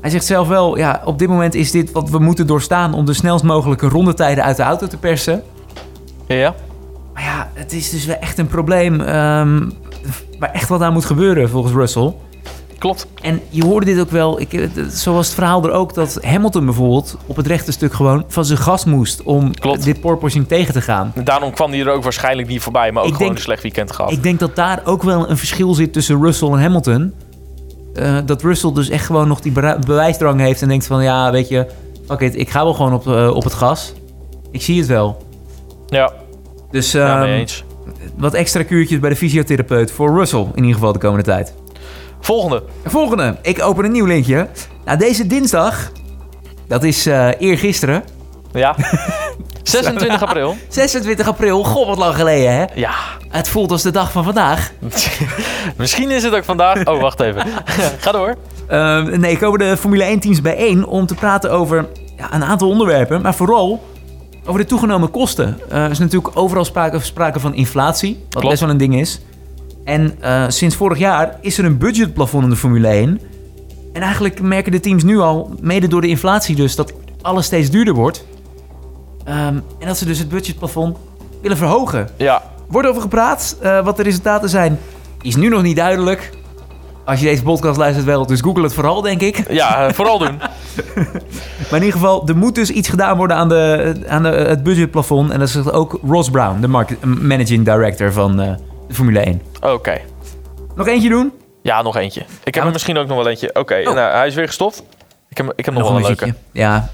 S2: Hij zegt zelf wel, ja, op dit moment is dit wat we moeten doorstaan om de snelst mogelijke rondetijden uit de auto te persen.
S1: Ja.
S2: Maar ja, het is dus wel echt een probleem ehm, waar echt wat aan moet gebeuren volgens Russell.
S1: Klopt.
S2: En je hoorde dit ook wel, ik, eh, d- zo was het verhaal er ook, dat Hamilton bijvoorbeeld op het rechte stuk gewoon van zijn gas moest om
S1: Klopt.
S2: dit porpoising tegen te gaan.
S1: Daarom kwam hij er ook waarschijnlijk niet voorbij, maar ook
S2: Ik
S1: gewoon
S2: denk-
S1: een slecht weekend gehad.
S2: Ik denk dat daar ook wel een verschil zit tussen Russell en Hamilton. Eh, dat Russell dus echt gewoon nog die bera- bewijsdrang heeft en denkt van... ja, weet je, fuck it, ik ga wel gewoon op, eh, op het gas. Ik zie het wel.
S1: Ja,
S2: Dus
S1: ja mee
S2: ehm,
S1: eens.
S2: wat extra kuurtjes bij de fysiotherapeut voor Russell in ieder geval de komende tijd.
S1: Volgende.
S2: Volgende, ik open een nieuw linkje. Nou, deze dinsdag, dat is eh eergisteren,
S1: Ja. 26 april.
S2: 26 april. Goh, wat lang geleden hè.
S1: Ja.
S2: Het voelt als de dag van vandaag.
S1: Misschien is het ook vandaag. Oh, wacht even. Ga door.
S2: Eh, nee, komen de Formule 1-teams bijeen om te praten over ja, een aantal onderwerpen. Maar vooral Over de toegenomen kosten. Eh, Er is natuurlijk overal sprake, sprake van inflatie, wat
S1: Klopt.
S2: best wel een ding is. En eh, sinds vorig jaar is er een budgetplafond in de Formule 1. En eigenlijk merken de teams nu al, mede door de inflatie dus, dat alles steeds duurder wordt. Ehm, en dat ze dus het budgetplafond willen verhogen.
S1: Ja,
S2: Wordt over gepraat, eh, wat de resultaten zijn, is nu nog niet duidelijk. Als je deze podcast luistert wel, dus google het vooral, denk ik.
S1: ja eh, vooral doen.
S2: Maar in ieder geval, er moet dus iets gedaan worden aan, de, aan de, eh, het budgetplafond. En dat zegt ook Ross Brown, de market- managing director van eh, de Formule 1.
S1: Oké.
S2: Nog eentje doen?
S1: Ja, nog eentje. Ik heb er
S2: want-
S1: misschien ook nog wel eentje. Oké,
S2: Oh.
S1: nou, hij is weer gestopt. Ik heb, ik heb nog, wel een leuke.
S2: muziekje. Ja.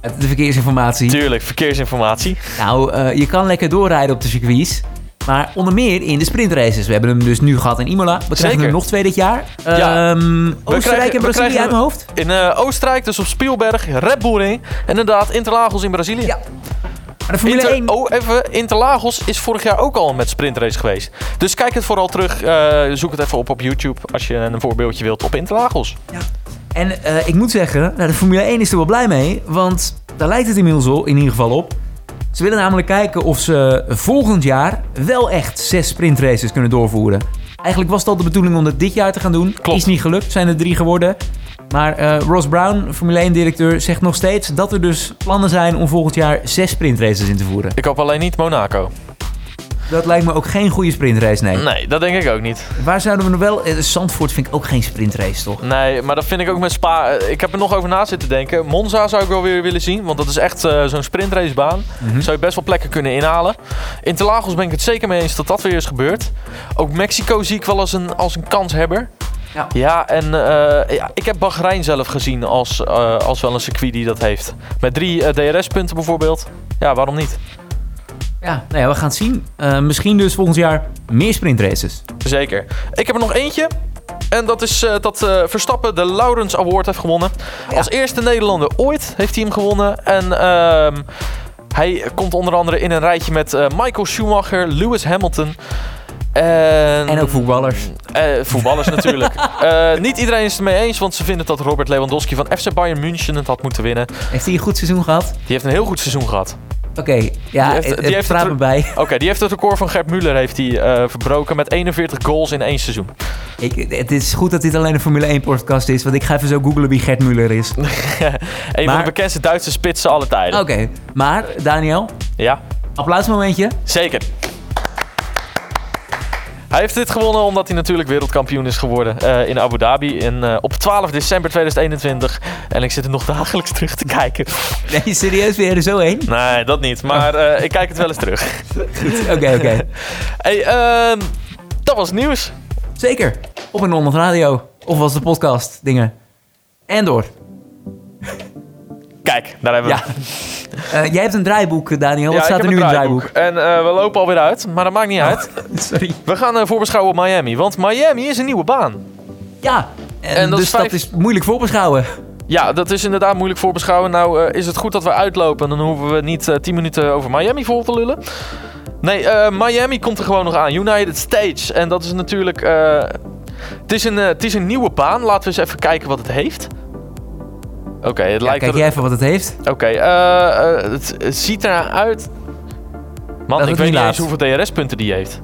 S2: Het- De verkeersinformatie.
S1: Tuurlijk, verkeersinformatie.
S2: Nou, eh, je kan lekker doorrijden op de circuits. Maar onder meer in de sprintraces. We hebben hem dus nu gehad in Imola. We krijgen
S1: Zeker.
S2: er nog twee dit jaar.
S1: Ja.
S2: Ehm, Oostenrijk
S1: krijgen-
S2: en
S1: we
S2: Brazilië
S1: krijgen-
S2: uit mijn hoofd.
S1: In eh, Oostenrijk, dus op Spielberg, Red Bull Ring. En inderdaad, Interlagos in Brazilië.
S2: Ja. Maar de Formule
S1: Inter-
S2: 1...
S1: oh, even. Interlagos is vorig jaar ook al met sprintrace geweest. Dus kijk het vooral terug. eh, zoek het even op op YouTube als je een voorbeeldje wilt op Interlagos.
S2: En eh, ik moet zeggen, nou, de Formule 1 is er wel blij mee. Want daar lijkt het inmiddels al, in ieder geval op. Ze willen namelijk kijken of ze volgend jaar wel echt zes sprintraces kunnen doorvoeren. Eigenlijk was het al de bedoeling om dat dit jaar te gaan doen.
S1: Klopt.
S2: Is niet gelukt, zijn er drie geworden. Maar eh, Ross Brown, Formule 1-directeur, zegt nog steeds dat er dus plannen zijn om volgend jaar zes sprintraces in te voeren.
S1: Ik hoop alleen niet Monaco.
S2: Dat lijkt me ook geen goede sprintrace, nee.
S1: Nee, dat denk ik ook niet.
S2: Waar zouden we nog wel... eh, Zandvoort vind ik ook geen sprintrace, toch?
S1: Nee, maar dat vind ik ook met Spa. eh, Ik heb er nog over na zitten denken. Monza zou ik wel weer willen zien, want dat is echt eh, zo'n sprintracebaan.
S2: Mhm.
S1: Zou je best wel plekken kunnen inhalen. Interlagos ben ik het zeker mee eens dat dat weer is gebeurd. Ook Mexico zie ik wel als een, als een kanshebber.
S2: Ja.
S1: ja, en eh, ja, ik heb Bahrein zelf gezien als, eh, als wel een circuit die dat heeft. Met drie eh, DRS-punten bijvoorbeeld. Ja, waarom niet?
S2: Ja, nou ja, we gaan het zien. Eh, misschien dus volgend jaar meer sprintraces.
S1: Zeker. Ik heb er nog eentje. En dat is eh, dat eh, Verstappen de Laurens Award heeft gewonnen. Als eerste Nederlander ooit heeft hij hem gewonnen. En ehm, hij komt onder andere in een rijtje met eh, Michael Schumacher, Lewis Hamilton. En,
S2: En ook voetballers.
S1: eh, voetballers natuurlijk. Eh, niet iedereen is het ermee eens, want ze vinden dat Robert Lewandowski van FC Bayern München het had moeten winnen.
S2: Heeft hij een goed seizoen gehad?
S1: Die heeft een heel goed seizoen gehad.
S2: Oké, ja,
S1: Die heeft-
S2: het,
S1: die
S2: het
S1: heeft
S2: praat
S1: het-
S2: me bij.
S1: Oké, die heeft het record van Gert Muller heeft hij, eh, verbroken met 41 goals in één seizoen.
S2: Ik, het is goed dat dit alleen een Formule 1 podcast is, want ik ga even zo googlen wie Gert Muller is. Oké,
S1: Een van
S2: Maar-
S1: de bekendste Duitse spitsen alle tijden.
S2: maar Daniel,
S1: Ja?
S2: applausmomentje.
S1: Zeker. Hij heeft dit gewonnen omdat hij natuurlijk wereldkampioen is geworden eh, in Abu Dhabi in, eh, op 12 december 2021. En ik zit er nog dagelijks terug te kijken.
S2: Nee, serieus, weer er zo heen?
S1: Nee, dat niet. Maar eh, ik kijk het wel eens terug.
S2: Oké, oké.
S1: Hey, ehm, dat was nieuws.
S2: Zeker. Op een Holland Radio. Of was de podcast, dingen. En door.
S1: Kijk, daar hebben we
S2: Ja.
S1: het.
S2: Eh, jij hebt een draaiboek, Daniel. Wat
S1: ik
S2: staat
S1: heb
S2: er nu in
S1: een
S2: het draaiboek?
S1: En eh, we lopen alweer uit, maar dat maakt niet uit.
S2: Sorry.
S1: We gaan eh, voorbeschouwen op Miami, want Miami is een nieuwe baan.
S2: Ja, en,
S1: En dat
S2: dus
S1: is
S2: dat
S1: vijf-
S2: is moeilijk voorbeschouwen.
S1: Ja, dat is inderdaad moeilijk voorbeschouwen. Nou eh, is het goed dat we uitlopen, dan hoeven we niet eh, 10 minuten over Miami vol te lullen. Nee, eh, Miami komt er gewoon nog aan. United States. En dat is natuurlijk... eh, het, is een, eh, het is een nieuwe baan. Laten we eens even kijken wat het heeft. Oké, het
S2: Ja,
S1: lijkt...
S2: kijk
S1: er-
S2: jij even wat het heeft.
S1: Oké, eh, eh, het, het ziet eruit. Man, ik
S2: het niet
S1: weet niet
S2: laat.
S1: eens hoeveel DRS-punten die heeft.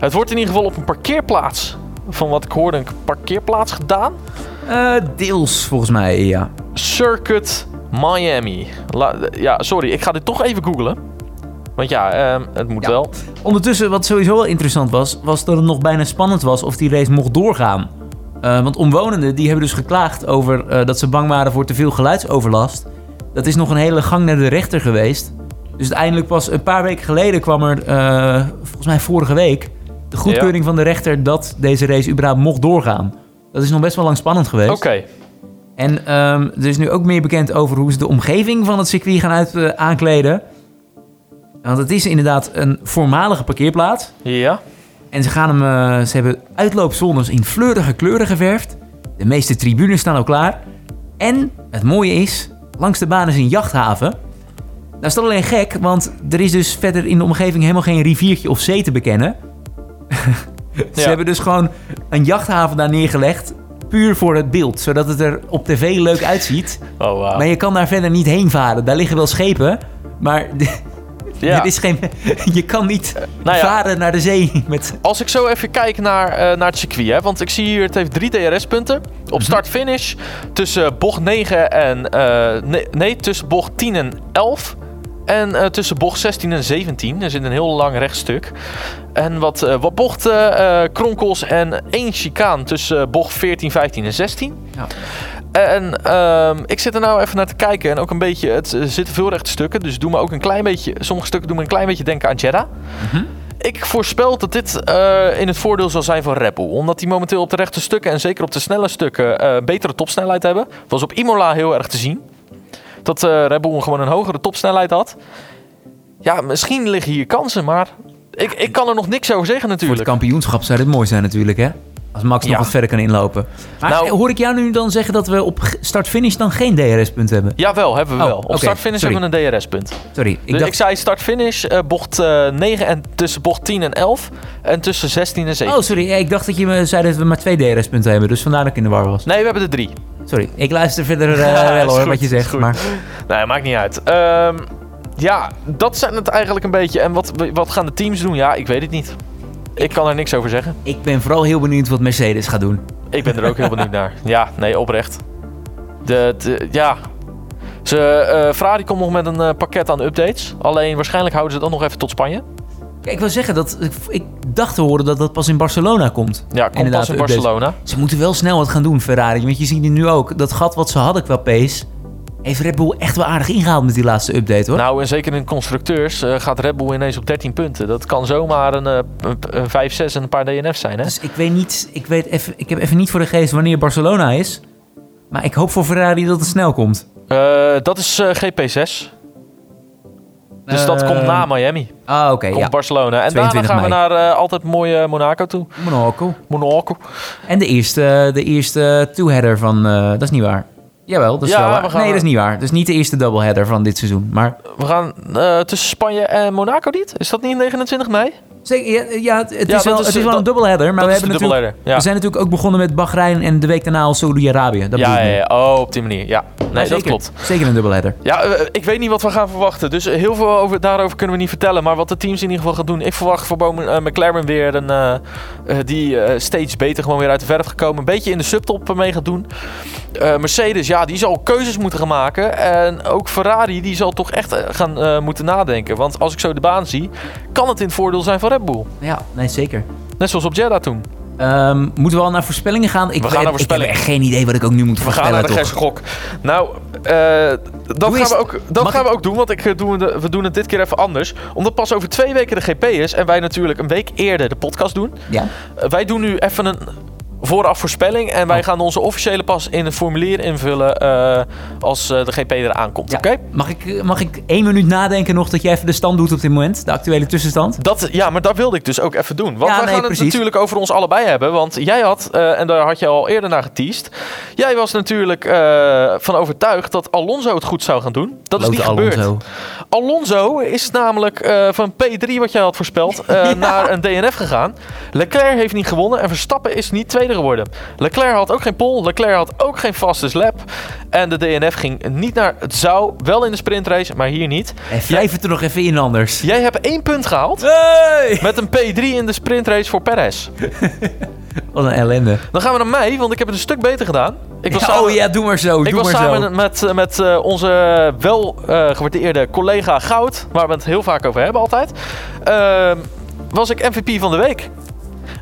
S1: het wordt in ieder geval op een parkeerplaats. Van wat ik hoorde, een parkeerplaats gedaan.
S2: Eh, deels, volgens mij, ja.
S1: Circuit Miami. La- ja, sorry, ik ga dit toch even googlen. Want ja, ehm, het moet
S2: Ja.
S1: wel.
S2: Ondertussen, wat sowieso wel interessant was, was dat het nog bijna spannend was of die race mocht doorgaan. Eh, want omwonenden die hebben dus geklaagd over eh, dat ze bang waren voor te veel geluidsoverlast. Dat is nog een hele gang naar de rechter geweest. Dus uiteindelijk pas een paar weken geleden kwam er, eh, volgens mij vorige week, de goedkeuring van de rechter dat deze race überhaupt mocht doorgaan. Dat is nog best wel lang spannend geweest.
S1: Oké,
S2: En ehm, er is nu ook meer bekend over hoe ze de omgeving van het circuit gaan uit, eh, aankleden. Want het is inderdaad een voormalige parkeerplaats.
S1: ja.
S2: En ze, gaan hem, eh, ze hebben uitloopzones in fleurige kleuren geverfd. De meeste tribunes staan al klaar. En het mooie is, langs de baan is een jachthaven. Nou is dat alleen gek, want er is dus verder in de omgeving helemaal geen riviertje of zee te bekennen. ze
S1: Ja.
S2: hebben dus gewoon een jachthaven daar neergelegd. puur voor het beeld, zodat het er op tv leuk uitziet.
S1: Oh, wauw.
S2: Maar je kan daar verder niet heen varen. Daar liggen wel schepen, maar
S1: Ja.
S2: dit is geen, je kan niet
S1: nou ja.
S2: varen naar de zee met...
S1: Als ik zo even kijk naar, eh, naar het circuit, hè, want ik zie hier, het heeft drie DRS-punten.
S2: Mhm.
S1: Op start-finish tussen eh, bocht 9 en. eh, nee, nee, tussen bocht 10 en 11. En eh, tussen bocht 16 en 17. Er zit een heel lang rechtstuk. En wat, eh, wat bochten, eh, kronkels en één chicaan tussen eh, bocht 14, 15 en 16.
S2: Ja.
S1: En ehm, ik zit er nou even naar te kijken. En ook een beetje, het eh, zitten veel rechte stukken. Dus doe me ook een klein beetje, sommige stukken doen me een klein beetje denken aan Jeddah.
S2: Mhm.
S1: Ik voorspel dat dit eh, in het voordeel zal zijn van Red Bull. Omdat die momenteel op de rechte stukken en zeker op de snelle stukken eh, betere topsnelheid hebben. Was op Imola heel erg te zien. Dat eh Red Bull gewoon een hogere topsnelheid had. Ja, misschien liggen hier kansen, maar ik, ik kan er nog niks over zeggen
S2: Voor het
S1: natuurlijk.
S2: kampioenschap zou dit mooi zijn natuurlijk, hè? Als Max nog
S1: Ja.
S2: wat verder kan inlopen. Maar
S1: Nou-
S2: hoor ik jou nu dan zeggen dat we op g- start-finish dan geen DRS-punt hebben?
S1: Jawel, hebben we
S2: Oh,
S1: wel. Op
S2: oké,
S1: start-finish
S2: sorry.
S1: hebben we een DRS-punt.
S2: Sorry, ik
S1: Dus
S2: dacht...
S1: ik zei start-finish, eh, bocht eh 9 en tussen bocht 10 en 11. En tussen 16 en 17.
S2: Oh, sorry. ja, Ik dacht dat je me zei dat we maar twee DRS-punten hebben. Dus vandaar dat ik in de war was.
S1: Nee, we hebben er drie.
S2: Sorry. Ik luister verder eh,
S1: Ja,
S2: wel
S1: is
S2: hoor,
S1: goed,
S2: wat je
S1: is
S2: zegt.
S1: goed.
S2: Maar
S1: Nee, maakt niet uit. Ehm, ja, dat zijn het eigenlijk een beetje. En wat, wat gaan de teams doen? Ja, ik weet het niet. Ik kan er niks over zeggen.
S2: ik ben vooral heel benieuwd wat Mercedes gaat doen.
S1: Ik ben er ook heel benieuwd naar. Ja, nee, oprecht. De, de- ja. Ze, eh, Ferrari komt nog met een eh, pakket aan updates. Alleen waarschijnlijk houden ze dat nog even tot Spanje.
S2: Kijk, ik wil zeggen dat... Ik, ik dacht te horen dat dat pas in Barcelona komt.
S1: Ja, komt
S2: Inderdaad,
S1: pas in
S2: updates.
S1: Barcelona.
S2: Ze moeten wel snel wat gaan doen, Ferrari. Want je ziet het nu ook. Dat gat wat ze hadden qua pace... Heeft Red Bull echt wel aardig ingehaald met die laatste update, hoor.
S1: Nou, en zeker in constructeurs eh, gaat Red Bull ineens op 13 punten. Dat kan zomaar een, eh, een, een 5, 6 en een paar DNF's zijn, hè?
S2: Dus ik weet niet... Ik, weet even, ik heb even niet voor de geest wanneer Barcelona is. Maar ik hoop voor Ferrari dat het snel komt.
S1: Eh, dat is eh, GP6. Dus dat
S2: Eh,
S1: komt na Miami.
S2: Ah, oké,
S1: Komt
S2: ja.
S1: Barcelona. En daarna
S2: 22
S1: gaan we
S2: mei.
S1: naar eh, altijd mooie Monaco toe.
S2: Monaco.
S1: Monaco.
S2: En de eerste, de eerste two-header van... eh, dat is niet waar. Jawel, dat is
S1: Ja,
S2: wel waar.
S1: we gaan-
S2: Nee, dat is niet waar. Dus niet de eerste double-header van dit seizoen. Maar
S1: We gaan eh, tussen Spanje en Monaco niet. Is dat niet 29 mei?
S2: zeker, ja, ja, het, het
S1: Ja,
S2: is wel,
S1: dat is-
S2: het is wel
S1: dat-
S2: een double-header.
S1: dat
S2: Maar we,
S1: is
S2: hebben
S1: de
S2: natuurlijk,
S1: double-header, ja.
S2: we zijn natuurlijk ook begonnen met Bahrein en de week daarna al Saudi-Arabië. Dat
S1: Ja,
S2: bedoel
S1: ja,
S2: ik nu.
S1: ja. Oh, op die manier. Ja, nee,
S2: Maar
S1: dat
S2: zeker-
S1: klopt.
S2: Zeker een double-header.
S1: Ja, eh, ik weet niet wat we gaan verwachten. Dus heel veel over, daarover kunnen we niet vertellen. Maar wat de teams in ieder geval gaan doen. Ik verwacht voor Bowman, eh, McLaren weer een. eh, eh, die eh, steeds beter gewoon weer uit de verf gekomen. Een beetje in de subtop eh, mee gaat doen. Eh, Mercedes, ja, die zal keuzes moeten gaan maken. En ook Ferrari, die zal toch echt eh, gaan eh, moeten nadenken. Want als ik zo de baan zie, kan het in het voordeel zijn van Red Bull.
S2: Ja, nee, zeker.
S1: Net zoals op Jeddah toen.
S2: Ehm, moeten we al naar voorspellingen gaan? Ik,
S1: We gaan
S2: weet-
S1: naar
S2: Ik
S1: voorspellingen.
S2: heb echt geen idee wat ik ook nu moet
S1: We gaan
S2: voorspellen,
S1: naar de
S2: toch?
S1: Gerse Gok. Nou, eh, dat
S2: Doe
S1: gaan,
S2: eens-
S1: we ook, dat
S2: mag
S1: gaan
S2: ik-
S1: we ook doen, want ik, eh, doen we, de- we doen het dit keer even anders. Omdat pas over twee weken de GP is en wij natuurlijk een week eerder de podcast doen.
S2: Ja.
S1: Eh, wij doen nu even een vooraf voorspelling en wij
S2: Oh.
S1: gaan onze officiële pas in een formulier invullen eh, als eh, de GP eraan komt.
S2: Ja.
S1: Oké?
S2: Mag, ik, eh, mag ik één minuut nadenken nog dat jij even de stand doet op dit moment? De actuele tussenstand?
S1: Dat, ja, maar dat wilde ik dus ook even doen. Want
S2: Ja,
S1: wij
S2: nee,
S1: gaan
S2: precies.
S1: het natuurlijk over ons allebei hebben. Want jij had, eh, en daar had je al eerder naar geteased... Jij was natuurlijk eh, van overtuigd dat Alonso het goed zou gaan doen. Dat is
S2: Lotte
S1: niet gebeurd.
S2: Alonso.
S1: Alonso is namelijk eh, van P3, wat jij had voorspeld, eh, naar een DNF gegaan. Leclerc heeft niet gewonnen en Verstappen is niet tweede geworden. Leclerc had ook geen pole, Leclerc had ook geen fastest lap. En de DNF ging niet naar het zou, wel in de sprintrace, maar hier niet.
S2: En wrijf Eh, het er nog even in anders.
S1: Jij hebt één punt gehaald
S2: Hey!
S1: met een P3 in de sprintrace voor Perez.
S2: Wat een ellende.
S1: Dan gaan we naar mij, want ik heb het een stuk beter gedaan. Ik was
S2: Ja,
S1: samen-
S2: oh ja, doe maar zo.
S1: Ik
S2: doe
S1: was
S2: maar
S1: samen
S2: zo.
S1: met, eh, met eh, onze wel eh, gewaardeerde collega Goud, waar we het heel vaak over hebben altijd, ehm, was ik MVP van de week.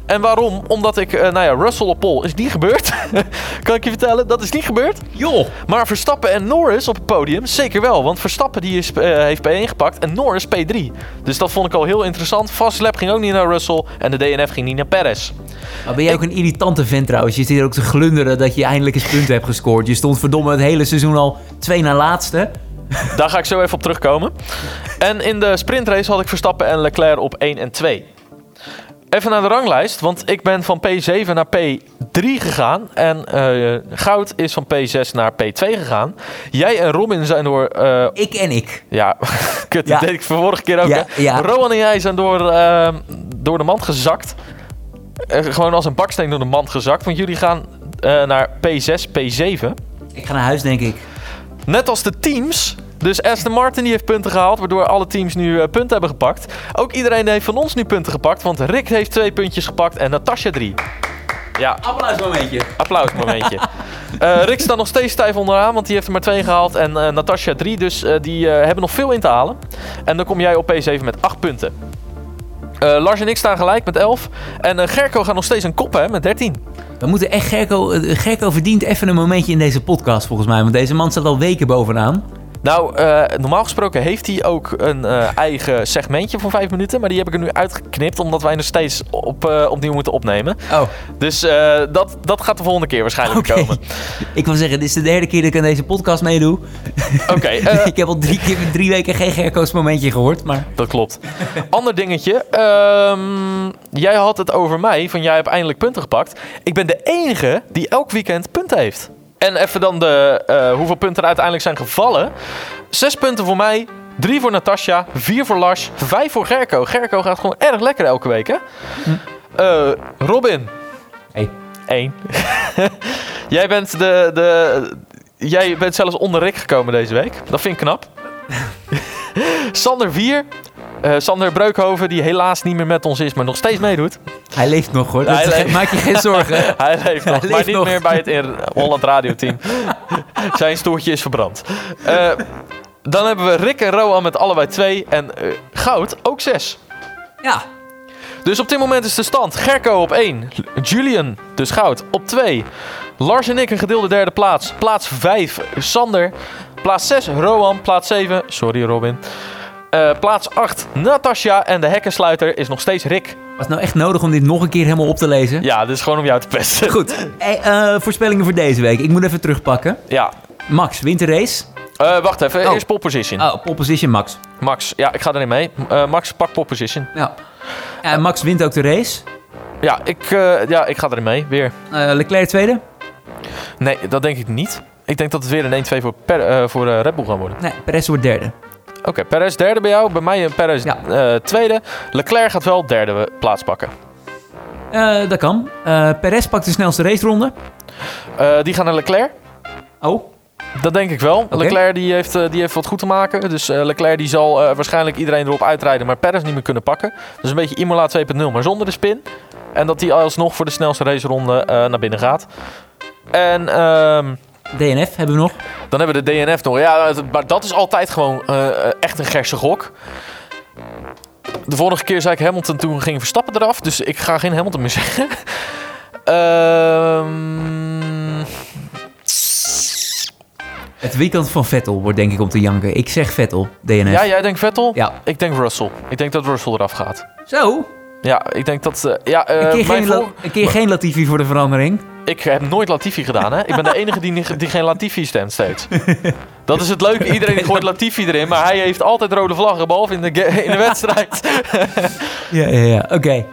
S1: En waarom? Omdat ik, eh, nou ja, Russell op pole is niet gebeurd. kan ik je vertellen, dat is niet gebeurd.
S2: Joh.
S1: Maar Verstappen en Norris op het podium, zeker wel. Want Verstappen die is, eh, heeft P1 gepakt en Norris P3. Dus dat vond ik al heel interessant. Fast lap ging ook niet naar Russell en de DNF ging niet naar Perez.
S2: Maar Oh, ben jij ook een irritante vent trouwens? Je zit hier ook te glunderen dat je eindelijk eens punten hebt gescoord. Je stond verdomme het hele seizoen al twee na laatste.
S1: Daar ga ik zo even op terugkomen. En in de sprintrace had ik Verstappen en Leclerc op 1 en 2. Even naar de ranglijst, want ik ben van P7 naar P3 gegaan. En eh, Goud is van P6 naar P2 gegaan. Jij en Robin zijn door... eh,
S2: Ik en ik.
S1: ja, kut,
S2: Ja.
S1: dat deed ik van vorige keer ook.
S2: Ja,
S1: hè.
S2: ja.
S1: Rowan en jij zijn door, eh, door de mand gezakt. Eh, gewoon als een baksteen door de mand gezakt. Want jullie gaan eh, naar P6, P7.
S2: Ik ga naar huis, denk ik.
S1: Net als de teams. Dus Aston Martin die heeft punten gehaald, waardoor alle teams nu eh, punten hebben gepakt. Ook iedereen heeft van ons nu punten gepakt, want Rick heeft twee puntjes gepakt en Natasja drie. Ja,
S2: Applausmomentje.
S1: applaus momentje. Eh, Rick staat nog steeds stijf onderaan, want die heeft er maar twee gehaald en eh Natasja drie. Dus eh, die eh, hebben nog veel in te halen. En dan kom jij op P7 met acht punten. Eh, Lars en ik staan gelijk met 11. En eh, Gerco gaat nog steeds een kop hè, met 13.
S2: We moeten echt Gerco... eh, Gerco verdient even een momentje in deze podcast, volgens mij. Want deze man staat al weken bovenaan.
S1: Nou, eh, normaal gesproken heeft hij ook een eh, eigen segmentje van vijf minuten. Maar die heb ik er nu uitgeknipt, omdat wij nog steeds op, eh, opnieuw moeten opnemen.
S2: Oh.
S1: Dus eh, dat, dat gaat de volgende keer waarschijnlijk
S2: Oké.
S1: komen.
S2: Ik wil zeggen, dit is de derde keer dat ik aan deze podcast meedoe.
S1: Oké, eh,
S2: ik heb al drie, keer, drie weken geen Gerco's momentje gehoord, maar...
S1: dat klopt. Ander dingetje. ehm, jij had het over mij, van jij hebt eindelijk punten gepakt. Ik ben de enige die elk weekend punten heeft. En even dan de, eh, hoeveel punten er uiteindelijk zijn gevallen. Zes punten voor mij, drie voor Natasja, vier voor Lars, vijf voor Gerco. Gerco gaat gewoon erg lekker elke week, hè? Eh, Robin,
S2: Hey.
S1: één. jij, bent de, de, jij bent zelfs onder Rick gekomen deze week. Dat vind ik knap. Sander, vier. Eh, Sander Breukhoven, die helaas niet meer met ons is, maar nog steeds meedoet.
S2: Hij leeft nog, hoor.
S1: Hij
S2: Dat-
S1: leeft.
S2: Maak je geen zorgen.
S1: Hij leeft nog,
S2: Hij
S1: maar
S2: leeft
S1: niet
S2: nog.
S1: meer bij het in- Holland Radio Team. Zijn stoeltje is verbrand. Eh, dan hebben we Rick en Roan met allebei twee. En eh, Goud ook zes.
S2: Ja.
S1: Dus op dit moment is de stand Gerco op 1, Julian, dus goud, op 2. Lars en ik een gedeelde derde plaats. Plaats 5, Sander. Plaats 6, Roan. Plaats 7, sorry Robin. Eh, plaats 8, Natasja. En de hekkensluiter is nog steeds Rick.
S2: Was het nou echt nodig om dit nog een keer helemaal op te lezen?
S1: Ja, dit is gewoon om jou te pesten.
S2: Goed. Hey, eh, voorspellingen voor deze week. Ik moet even terugpakken.
S1: Ja.
S2: Max, wint de race.
S1: Eh, wacht even,
S2: Oh.
S1: eerst pole position.
S2: Oh, pole position Max.
S1: Max, ja, ik ga erin mee. Eh, Max, pak pole position.
S2: Ja. Eh, Max wint ook de race.
S1: Ja ik, eh, ja, ik ga erin mee, weer.
S2: Eh, Leclerc tweede.
S1: Nee, dat denk ik niet. Ik denk dat het weer een 1-2 voor, per, eh, voor eh, Red Bull gaat worden.
S2: Nee, Perez wordt derde.
S1: Oké, Perez derde bij jou. Bij mij een Perez
S2: Ja.
S1: eh, tweede. Leclerc gaat wel derde we- plaats pakken.
S2: Eh, dat kan. Eh Perez pakt de snelste raceronde.
S1: Eh, die gaan naar Leclerc.
S2: Oh.
S1: Dat denk ik wel.
S2: Oké.
S1: Leclerc die heeft, eh, die heeft wat goed te maken. Dus eh, Leclerc die zal eh, waarschijnlijk iedereen erop uitrijden. Maar Perez niet meer kunnen pakken. Dus een beetje Imola 2.0, maar zonder de spin. En dat hij alsnog voor de snelste raceronde eh, naar binnen gaat. En ehm,
S2: DNF hebben we nog.
S1: dan hebben we de DNF nog. Ja, het- maar dat is altijd gewoon eh, eh, echt een gerse gok. De vorige keer zei ik Hamilton, toen ging Verstappen eraf. Dus ik ga geen Hamilton meer zeggen. Ehm,
S2: Het weekend van Vettel wordt denk ik om te janken. Ik zeg Vettel, DNF.
S1: ja, jij denkt Vettel?
S2: Ja.
S1: Ik denk Russell. Ik denk dat Russell eraf gaat.
S2: Zo.
S1: Ja, ik denk dat... eh, ja, eh,
S2: Een
S1: mijn
S2: keer, geen, La-
S1: vol-
S2: een keer geen Latifi voor de verandering.
S1: Ik heb nooit Latifi gedaan, hè? Ik ben de enige die, ni- die geen Latifi stemt steeds. Dat is het leuke. Iedereen gooit Latifi erin, maar hij heeft altijd rode vlaggen, behalve in de, ge- in de wedstrijd.
S2: Ja, ja, ja. Oké.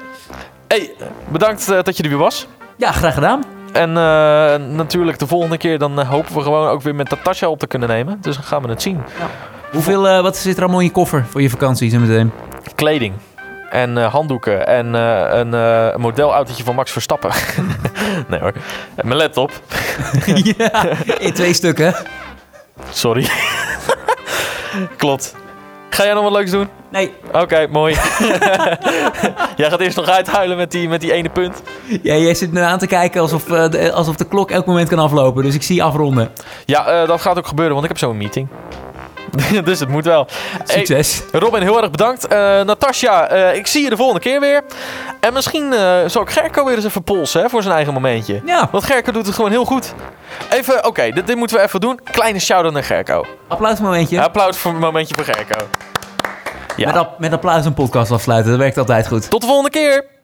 S1: hey, bedankt eh, dat je er weer was.
S2: Ja, graag gedaan.
S1: En eh, natuurlijk de volgende keer dan eh, hopen we gewoon ook weer met Natasja op te kunnen nemen. Dus dan gaan we het zien.
S2: Hoeveel, eh, wat zit er allemaal in je koffer voor je vakantie zo meteen?
S1: Kleding. En eh, handdoeken. En eh, een eh modelautootje van Max Verstappen. nee hoor. En mijn laptop.
S2: ja, in twee stukken.
S1: Sorry. Klopt. Ga jij nog wat leuks doen?
S2: Nee,
S1: Oké, mooi. jij gaat eerst nog uithuilen met die, met die ene punt.
S2: ja, jij zit me aan te kijken alsof, eh, de, alsof de klok elk moment kan aflopen. Dus ik zie je afronden.
S1: Ja, eh, dat gaat ook gebeuren, want ik heb zo'n meeting. dus het moet wel. Hey,
S2: Succes.
S1: Robin, heel erg bedankt. Eh Natasja, eh, ik zie je de volgende keer weer. En misschien eh zal ik Gerco weer eens even polsen hè, voor zijn eigen momentje.
S2: Ja,
S1: Want Gerco doet het gewoon heel goed. Even, oké, dit, dit moeten we even doen. Kleine shout-out naar Gerco.
S2: applausmomentje.
S1: Applaus voor een momentje voor Gerco. Ja.
S2: Met, app- met applaus een podcast afsluiten, dat werkt altijd goed.
S1: Tot de volgende keer!